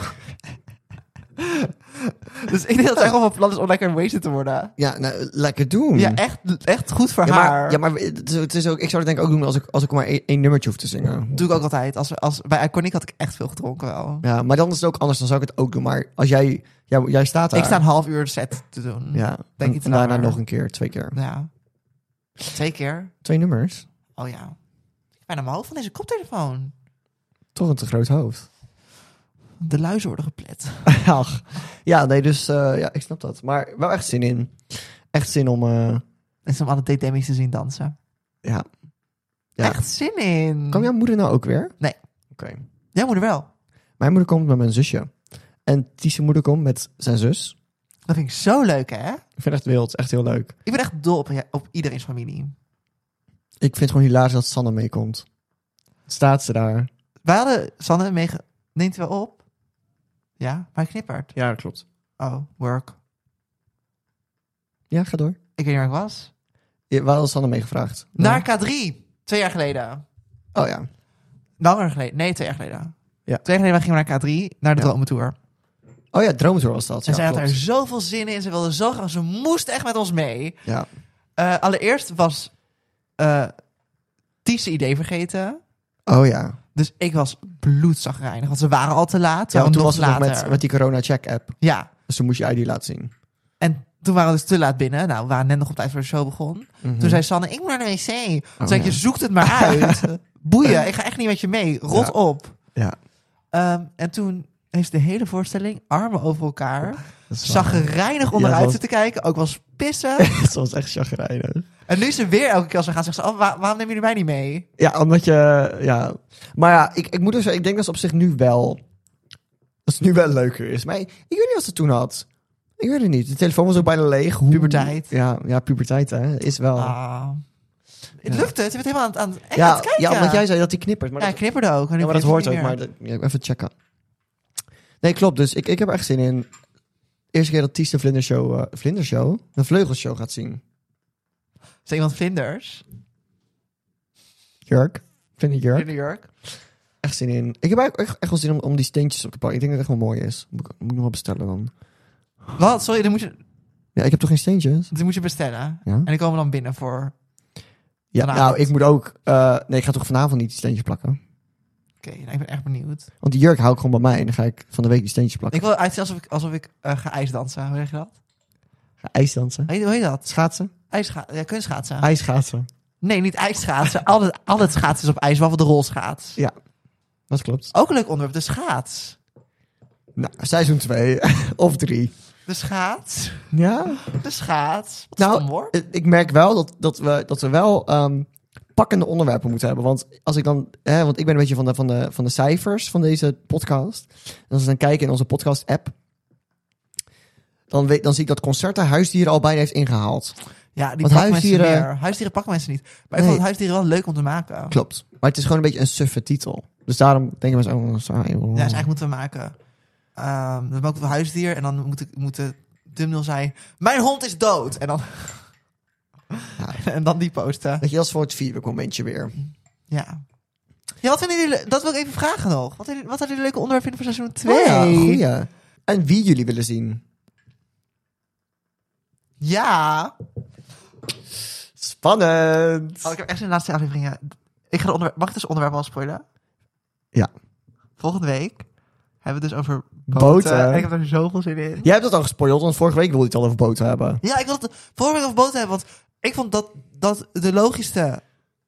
Speaker 1: dus ik denk dat het echt wel van plan is om lekker wasted te worden.
Speaker 3: Ja, nou, lekker doen.
Speaker 1: Ja, echt, echt goed voor
Speaker 3: Ja,
Speaker 1: haar.
Speaker 3: maar, ja, maar het is- het is ook, ik zou het denk ik ook doen als ik, als ik maar één, één nummertje hoef te zingen.
Speaker 1: doe ik ook altijd. Als, we- als, bij Iconic had ik echt veel gedronken wel.
Speaker 3: Ja, maar dan is het ook anders. Dan zou ik het ook doen. Maar als jij, jij, jij staat daar.
Speaker 1: Ik sta een half uur set te doen.
Speaker 3: Ja,
Speaker 1: Denk
Speaker 3: en,
Speaker 1: iets
Speaker 3: en daarna
Speaker 1: langer.
Speaker 3: nog een keer, twee keer.
Speaker 1: ja. Twee keer.
Speaker 3: Twee nummers.
Speaker 1: Oh ja. Ik ben aan mijn hoofd van deze koptelefoon.
Speaker 3: Toch een te groot hoofd.
Speaker 1: De luizen worden geplet.
Speaker 3: Ach. Ja, nee, dus eh, ja, ik snap dat. Maar wel echt zin in. Echt zin om, eh,
Speaker 1: En ze om alle date te zien dansen.
Speaker 3: ja. Ja.
Speaker 1: Echt zin in.
Speaker 3: Kan jouw moeder nou ook weer?
Speaker 1: Nee.
Speaker 3: Oké.
Speaker 1: Jij moeder wel.
Speaker 3: Mijn moeder komt met mijn zusje. En Tische moeder komt met zijn zus.
Speaker 1: Dat vind ik zo leuk, hè?
Speaker 3: Ik vind het echt wild. Echt heel leuk.
Speaker 1: Ik ben echt dol op, op iedereen's familie.
Speaker 3: Ik vind het gewoon hilarisch dat Sanne meekomt. Staat ze daar?
Speaker 1: Wij hadden Sanne meege... Neemt hij wel op? Ja, maar hij knippert.
Speaker 3: Ja, dat klopt.
Speaker 1: Oh, work.
Speaker 3: Ja, ga door.
Speaker 1: Ik weet niet waar ik was.
Speaker 3: Ja, we hadden Sanne meegevraagd.
Speaker 1: Naar K3. Twee jaar geleden.
Speaker 3: Oh ja.
Speaker 1: Langer geleden. Nee, twee jaar geleden.
Speaker 3: Ja.
Speaker 1: Twee jaar geleden wij gingen we naar K3. Naar de
Speaker 3: Ja.
Speaker 1: Dromentour.
Speaker 3: Oh ja, Droomtour was dat.
Speaker 1: En
Speaker 3: Ja,
Speaker 1: zij had
Speaker 3: klopt.
Speaker 1: er zoveel zin in. Ze wilde zo graag. Ze moest echt met ons mee.
Speaker 3: Ja.
Speaker 1: Eh, allereerst was eh Ties zijn idee vergeten.
Speaker 3: Oh ja.
Speaker 1: Dus ik was bloedzagrijnig. Want ze waren al te laat.
Speaker 3: ja
Speaker 1: Ja,
Speaker 3: want toen was het nog
Speaker 1: later.
Speaker 3: met, met die corona-check-app.
Speaker 1: Ja.
Speaker 3: Dus toen moest je ID laten zien.
Speaker 1: En toen waren we dus te laat binnen. Nou, we waren net nog op tijd voor de show begon.
Speaker 3: Mhm.
Speaker 1: Toen zei Sanne, ik moet naar de wc. Toen
Speaker 3: Oh,
Speaker 1: zei ik,
Speaker 3: ja.
Speaker 1: je zoekt het maar uit. Boeien, ik ga echt niet met je mee. Rot
Speaker 3: Ja.
Speaker 1: op.
Speaker 3: Ja.
Speaker 1: Ehm, en toen heeft ze de hele voorstelling, armen over elkaar,
Speaker 3: Dat is waar.
Speaker 1: zagrijnig om
Speaker 3: Oh, Ja,
Speaker 1: eruit
Speaker 3: dat-
Speaker 1: te kijken, ook wel eens pissen.
Speaker 3: Dat was echt chagrijnig.
Speaker 1: en nu is ze weer elke keer als we gaan, zegt ze, oh, waar- waarom nemen jullie mij niet mee?
Speaker 3: Ja, omdat je... Ja. Maar ja, ik, ik moet dus zeggen, ik denk dat ze op zich nu wel... Dat het nu wel leuker is. Maar ik, ik weet niet wat ze toen had. Ik weet het niet. De telefoon was ook bijna leeg. Hoe...
Speaker 1: Puberteit.
Speaker 3: Ja, ja, puberteit hè. Is wel...
Speaker 1: Ah. Het
Speaker 3: Oh. Ja.
Speaker 1: lukt het, je bent helemaal aan, het- aan, het- echt aan
Speaker 3: ja,
Speaker 1: het kijken.
Speaker 3: ja, want jij zei dat die knippert. Maar
Speaker 1: Ja,
Speaker 3: dat-
Speaker 1: ik knipperde ook. en nu
Speaker 3: Ja, maar dat
Speaker 1: knippert
Speaker 3: hoort
Speaker 1: niet
Speaker 3: ook.
Speaker 1: meer.
Speaker 3: Maar dat- ja, even checken. Nee, klopt. Dus ik, ik heb er echt zin in. Eerste keer dat Ties de vlindershow, eh, vlindershow? Een vleugelshow gaat zien.
Speaker 1: Is er iemand vlinders?
Speaker 3: Jurk. Vlinderjurk.
Speaker 1: In New York?
Speaker 3: Echt zin in. Ik heb eigenlijk echt, echt wel zin om, om die steentjes op te pakken. Ik denk dat het echt wel mooi is. Moet ik, moet ik nog wel bestellen dan.
Speaker 1: Wat? Sorry, dan moet je,
Speaker 3: Ja, ik heb toch geen steentjes?
Speaker 1: dan moet je bestellen.
Speaker 3: Ja.
Speaker 1: En die komen dan binnen voor...
Speaker 3: Ja,
Speaker 1: Vanavond.
Speaker 3: nou, ik moet ook... eh, nee, ik ga toch vanavond niet die steentjes plakken?
Speaker 1: Oké, nou, ik ben echt benieuwd.
Speaker 3: Want die jurk hou ik gewoon bij mij. En dan ga ik van de week die steentjes plakken.
Speaker 1: Ik wil uitzien alsof ik, alsof ik eh, ga ijsdansen. Hoe zeg je dat?
Speaker 3: Ga ijsdansen.
Speaker 1: Hoe heet, hoe heet dat?
Speaker 3: Schaatsen?
Speaker 1: IJsga ja, kunstschaatsen.
Speaker 3: Ijsschaatsen.
Speaker 1: nee, niet ijsschaatsen. al, het, al het schaatsen is op ijs, behalve de rolschaats.
Speaker 3: Ja. Dat klopt.
Speaker 1: Ook een leuk onderwerp, de schaats.
Speaker 3: Nou, seizoen 2 of 3.
Speaker 1: De schaats.
Speaker 3: Ja?
Speaker 1: De schaats. Wat
Speaker 3: Nou,
Speaker 1: nou, hoor.
Speaker 3: Eh, ik merk wel dat, dat, we, dat we wel ehm, pakkende onderwerpen moeten hebben. Want als ik dan. Hè, want ik ben een beetje van de, van, de, van de cijfers van deze podcast. En als we dan kijken in onze podcast-app. Dan, weet, dan zie ik dat Concerta huisdieren al bijna heeft ingehaald.
Speaker 1: Ja, die
Speaker 3: want
Speaker 1: pakken mensen
Speaker 3: huisdieren-
Speaker 1: meer. Huisdieren pakken mensen niet. Maar
Speaker 3: Nee.
Speaker 1: ik vond het huisdieren wel leuk om te maken.
Speaker 3: Klopt. Maar het is gewoon een beetje een suffe titel. Dus daarom denken mensen, oh, saai.
Speaker 1: Ja,
Speaker 3: Oh.
Speaker 1: dus eigenlijk moeten we maken. Ehm dan maken we huisdier en dan moet, ik, moet de thumbnail zijn... Mijn hond is dood! En dan,
Speaker 3: Ja.
Speaker 1: en dan die posten.
Speaker 3: Weet je, dat is voor het vierweek momentje weer.
Speaker 1: Ja. Ja, wat vinden jullie... Dat wil ik even vragen nog. Wat, vinden- wat hadden jullie leuke onderwerpen voor seizoen 2?
Speaker 3: Oh ja, goeie. En wie jullie willen zien.
Speaker 1: Ja.
Speaker 3: Spannend.
Speaker 1: Oh, ik heb echt in de laatste afleveringen... Ik ga de onderwerp... Mag ik dus onderwerp al spoilen?
Speaker 3: Ja.
Speaker 1: Volgende week hebben we het dus over boten.
Speaker 3: Boten.
Speaker 1: En ik heb er zoveel zin in.
Speaker 3: Jij hebt dat al gespoild, want vorige week wilde je het al over boten hebben.
Speaker 1: Ja, ik wil het vorige week over boten hebben. Want ik vond dat, dat de logischste...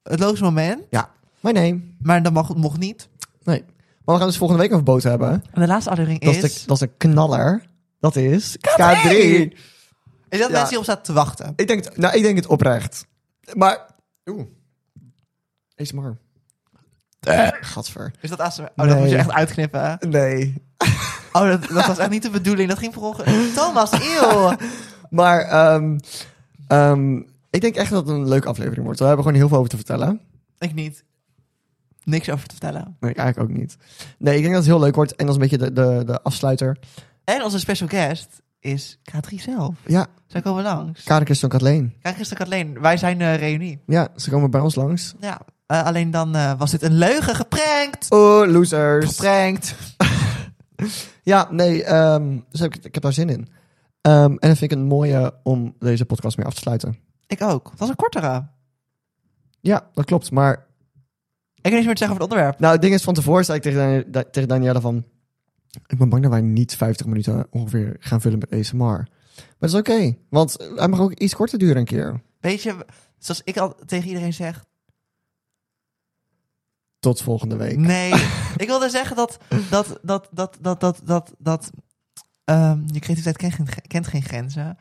Speaker 1: Het logische moment.
Speaker 3: Ja. Maar nee.
Speaker 1: Maar dat mag, mocht niet.
Speaker 3: Nee. Maar we gaan dus volgende week een verbod hebben.
Speaker 1: En de laatste aflevering
Speaker 3: Dat
Speaker 1: is...
Speaker 3: is, de, dat is een knaller. Dat is K3.
Speaker 1: Is dat
Speaker 3: Ja.
Speaker 1: mensen die op staan te wachten?
Speaker 3: Ik denk, het- nou, ik denk het oprecht. Maar, oeh. ASMR. Eh, Gadver.
Speaker 1: Is dat ASMR? Oh, dat moet je
Speaker 3: Nee.
Speaker 1: echt uitknippen. hè?
Speaker 3: Nee.
Speaker 1: Oh, dat, dat was echt niet de bedoeling. Dat ging voor ongeluk. Thomas, eeuw.
Speaker 3: Maar, ehm, ehm, ik denk echt dat het een leuke aflevering wordt. We hebben gewoon heel veel over te vertellen.
Speaker 1: Ik niet. Niks over te vertellen.
Speaker 3: Nee, ik eigenlijk ook niet. Nee, ik denk dat het heel leuk wordt. En dat is een beetje de, de, de afsluiter.
Speaker 1: En onze special guest is K3 zelf.
Speaker 3: Ja,
Speaker 1: Zij komen langs.
Speaker 3: Karin Christian Katleen.
Speaker 1: Kijk, gisteren Kathleen. Wij zijn eh reunie.
Speaker 3: Ja, ze komen bij ons langs.
Speaker 1: Ja. eh, alleen dan eh, was dit een leugen. Geprankt.
Speaker 3: Oh, losers.
Speaker 1: Geprankt.
Speaker 3: Ja, nee, ehm, dus heb ik, ik heb daar zin in. Ehm, en dat vind ik een mooie om deze podcast mee af te sluiten.
Speaker 1: Ik ook. Het was een kortere.
Speaker 3: Ja, dat klopt. Maar
Speaker 1: Ik heb niks meer te zeggen over het onderwerp.
Speaker 3: nou, het ding is, van tevoren zei ik tegen, Dan- da- tegen Danielle van... Ik ben bang dat wij niet 50 minuten ongeveer gaan vullen met ASMR. Maar dat is oké, want hij mag ook iets korter duren een keer.
Speaker 1: Weet je, zoals ik al tegen iedereen zeg.
Speaker 3: Tot volgende week.
Speaker 1: Nee. ik wilde zeggen dat... Dat... Dat... Dat... Dat... Dat... dat, dat ehm, je creativiteit kent geen, kent geen grenzen.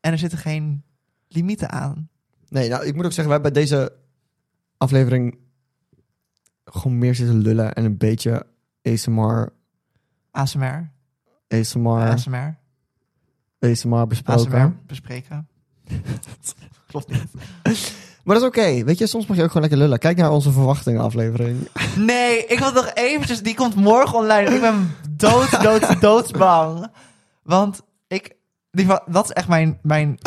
Speaker 1: En er zitten geen limieten aan.
Speaker 3: Nee, nou, ik moet ook zeggen, wij hebben bij deze aflevering gewoon meer zitten lullen en een beetje ASMR,
Speaker 1: ASMR.
Speaker 3: ASMR,
Speaker 1: ASMR.
Speaker 3: ASMR besproken.
Speaker 1: ASMR bespreken. Klopt niet.
Speaker 3: Maar dat is oké. Weet je, soms mag je ook gewoon lekker lullen. Kijk naar onze verwachtingenaflevering.
Speaker 1: Nee, ik wil nog eventjes... Die komt morgen online. Ik ben dood, dood, doodsbang. Want ik... Die, va- dat is echt mijn, mijn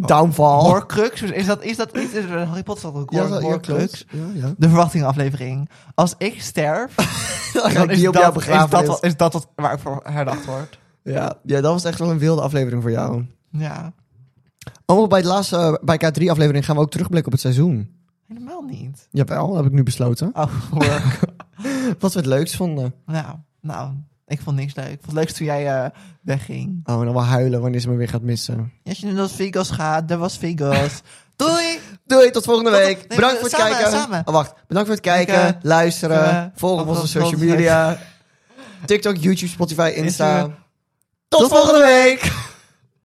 Speaker 1: Oh,
Speaker 3: Downfall.
Speaker 1: horcrux. Is dat, is dat iets? Is er een Harry Potter dat ook
Speaker 3: Oh. Ja,
Speaker 1: hor-
Speaker 3: dat- ja,
Speaker 1: horcrux?
Speaker 3: klopt. Ja, ja.
Speaker 1: De verwachtingaflevering. Als ik sterf,
Speaker 3: Dan ga
Speaker 1: dan
Speaker 3: ik
Speaker 1: is
Speaker 3: die op jouw
Speaker 1: dat, is, dat,
Speaker 3: begrafenis.
Speaker 1: wat- is dat wat waar ik voor herdacht word.
Speaker 3: Ja, ja, dat was echt wel een wilde aflevering voor jou.
Speaker 1: Ja,
Speaker 3: Oh, bij, de laatste, eh, bij K3-aflevering gaan we ook terugblikken op het seizoen.
Speaker 1: helemaal niet.
Speaker 3: Jawel, heb ik nu besloten.
Speaker 1: Oh, hoor.
Speaker 3: Wat we het leukst vonden.
Speaker 1: nou, nou, ik vond niks leuk. Ik vond het leukst toen jij eh, wegging.
Speaker 3: Oh, en dan wel huilen wanneer ze me weer gaat missen.
Speaker 1: Als je nu naar Las Vegas gaat, dat was Vegas. Doei!
Speaker 3: Doei, tot volgende
Speaker 1: Tot-
Speaker 3: week.
Speaker 1: nee,
Speaker 3: bedankt voor het
Speaker 1: samen,
Speaker 3: kijken.
Speaker 1: samen.
Speaker 3: Oh, wacht. Bedankt voor het kijken,
Speaker 1: Kijken,
Speaker 3: luisteren,
Speaker 1: eh,
Speaker 3: volgen op
Speaker 1: op
Speaker 3: onze
Speaker 1: ons-
Speaker 3: social
Speaker 1: ons-
Speaker 3: media. TikTok, YouTube, Spotify, Insta.
Speaker 1: Instagram.
Speaker 3: Tot volgende week.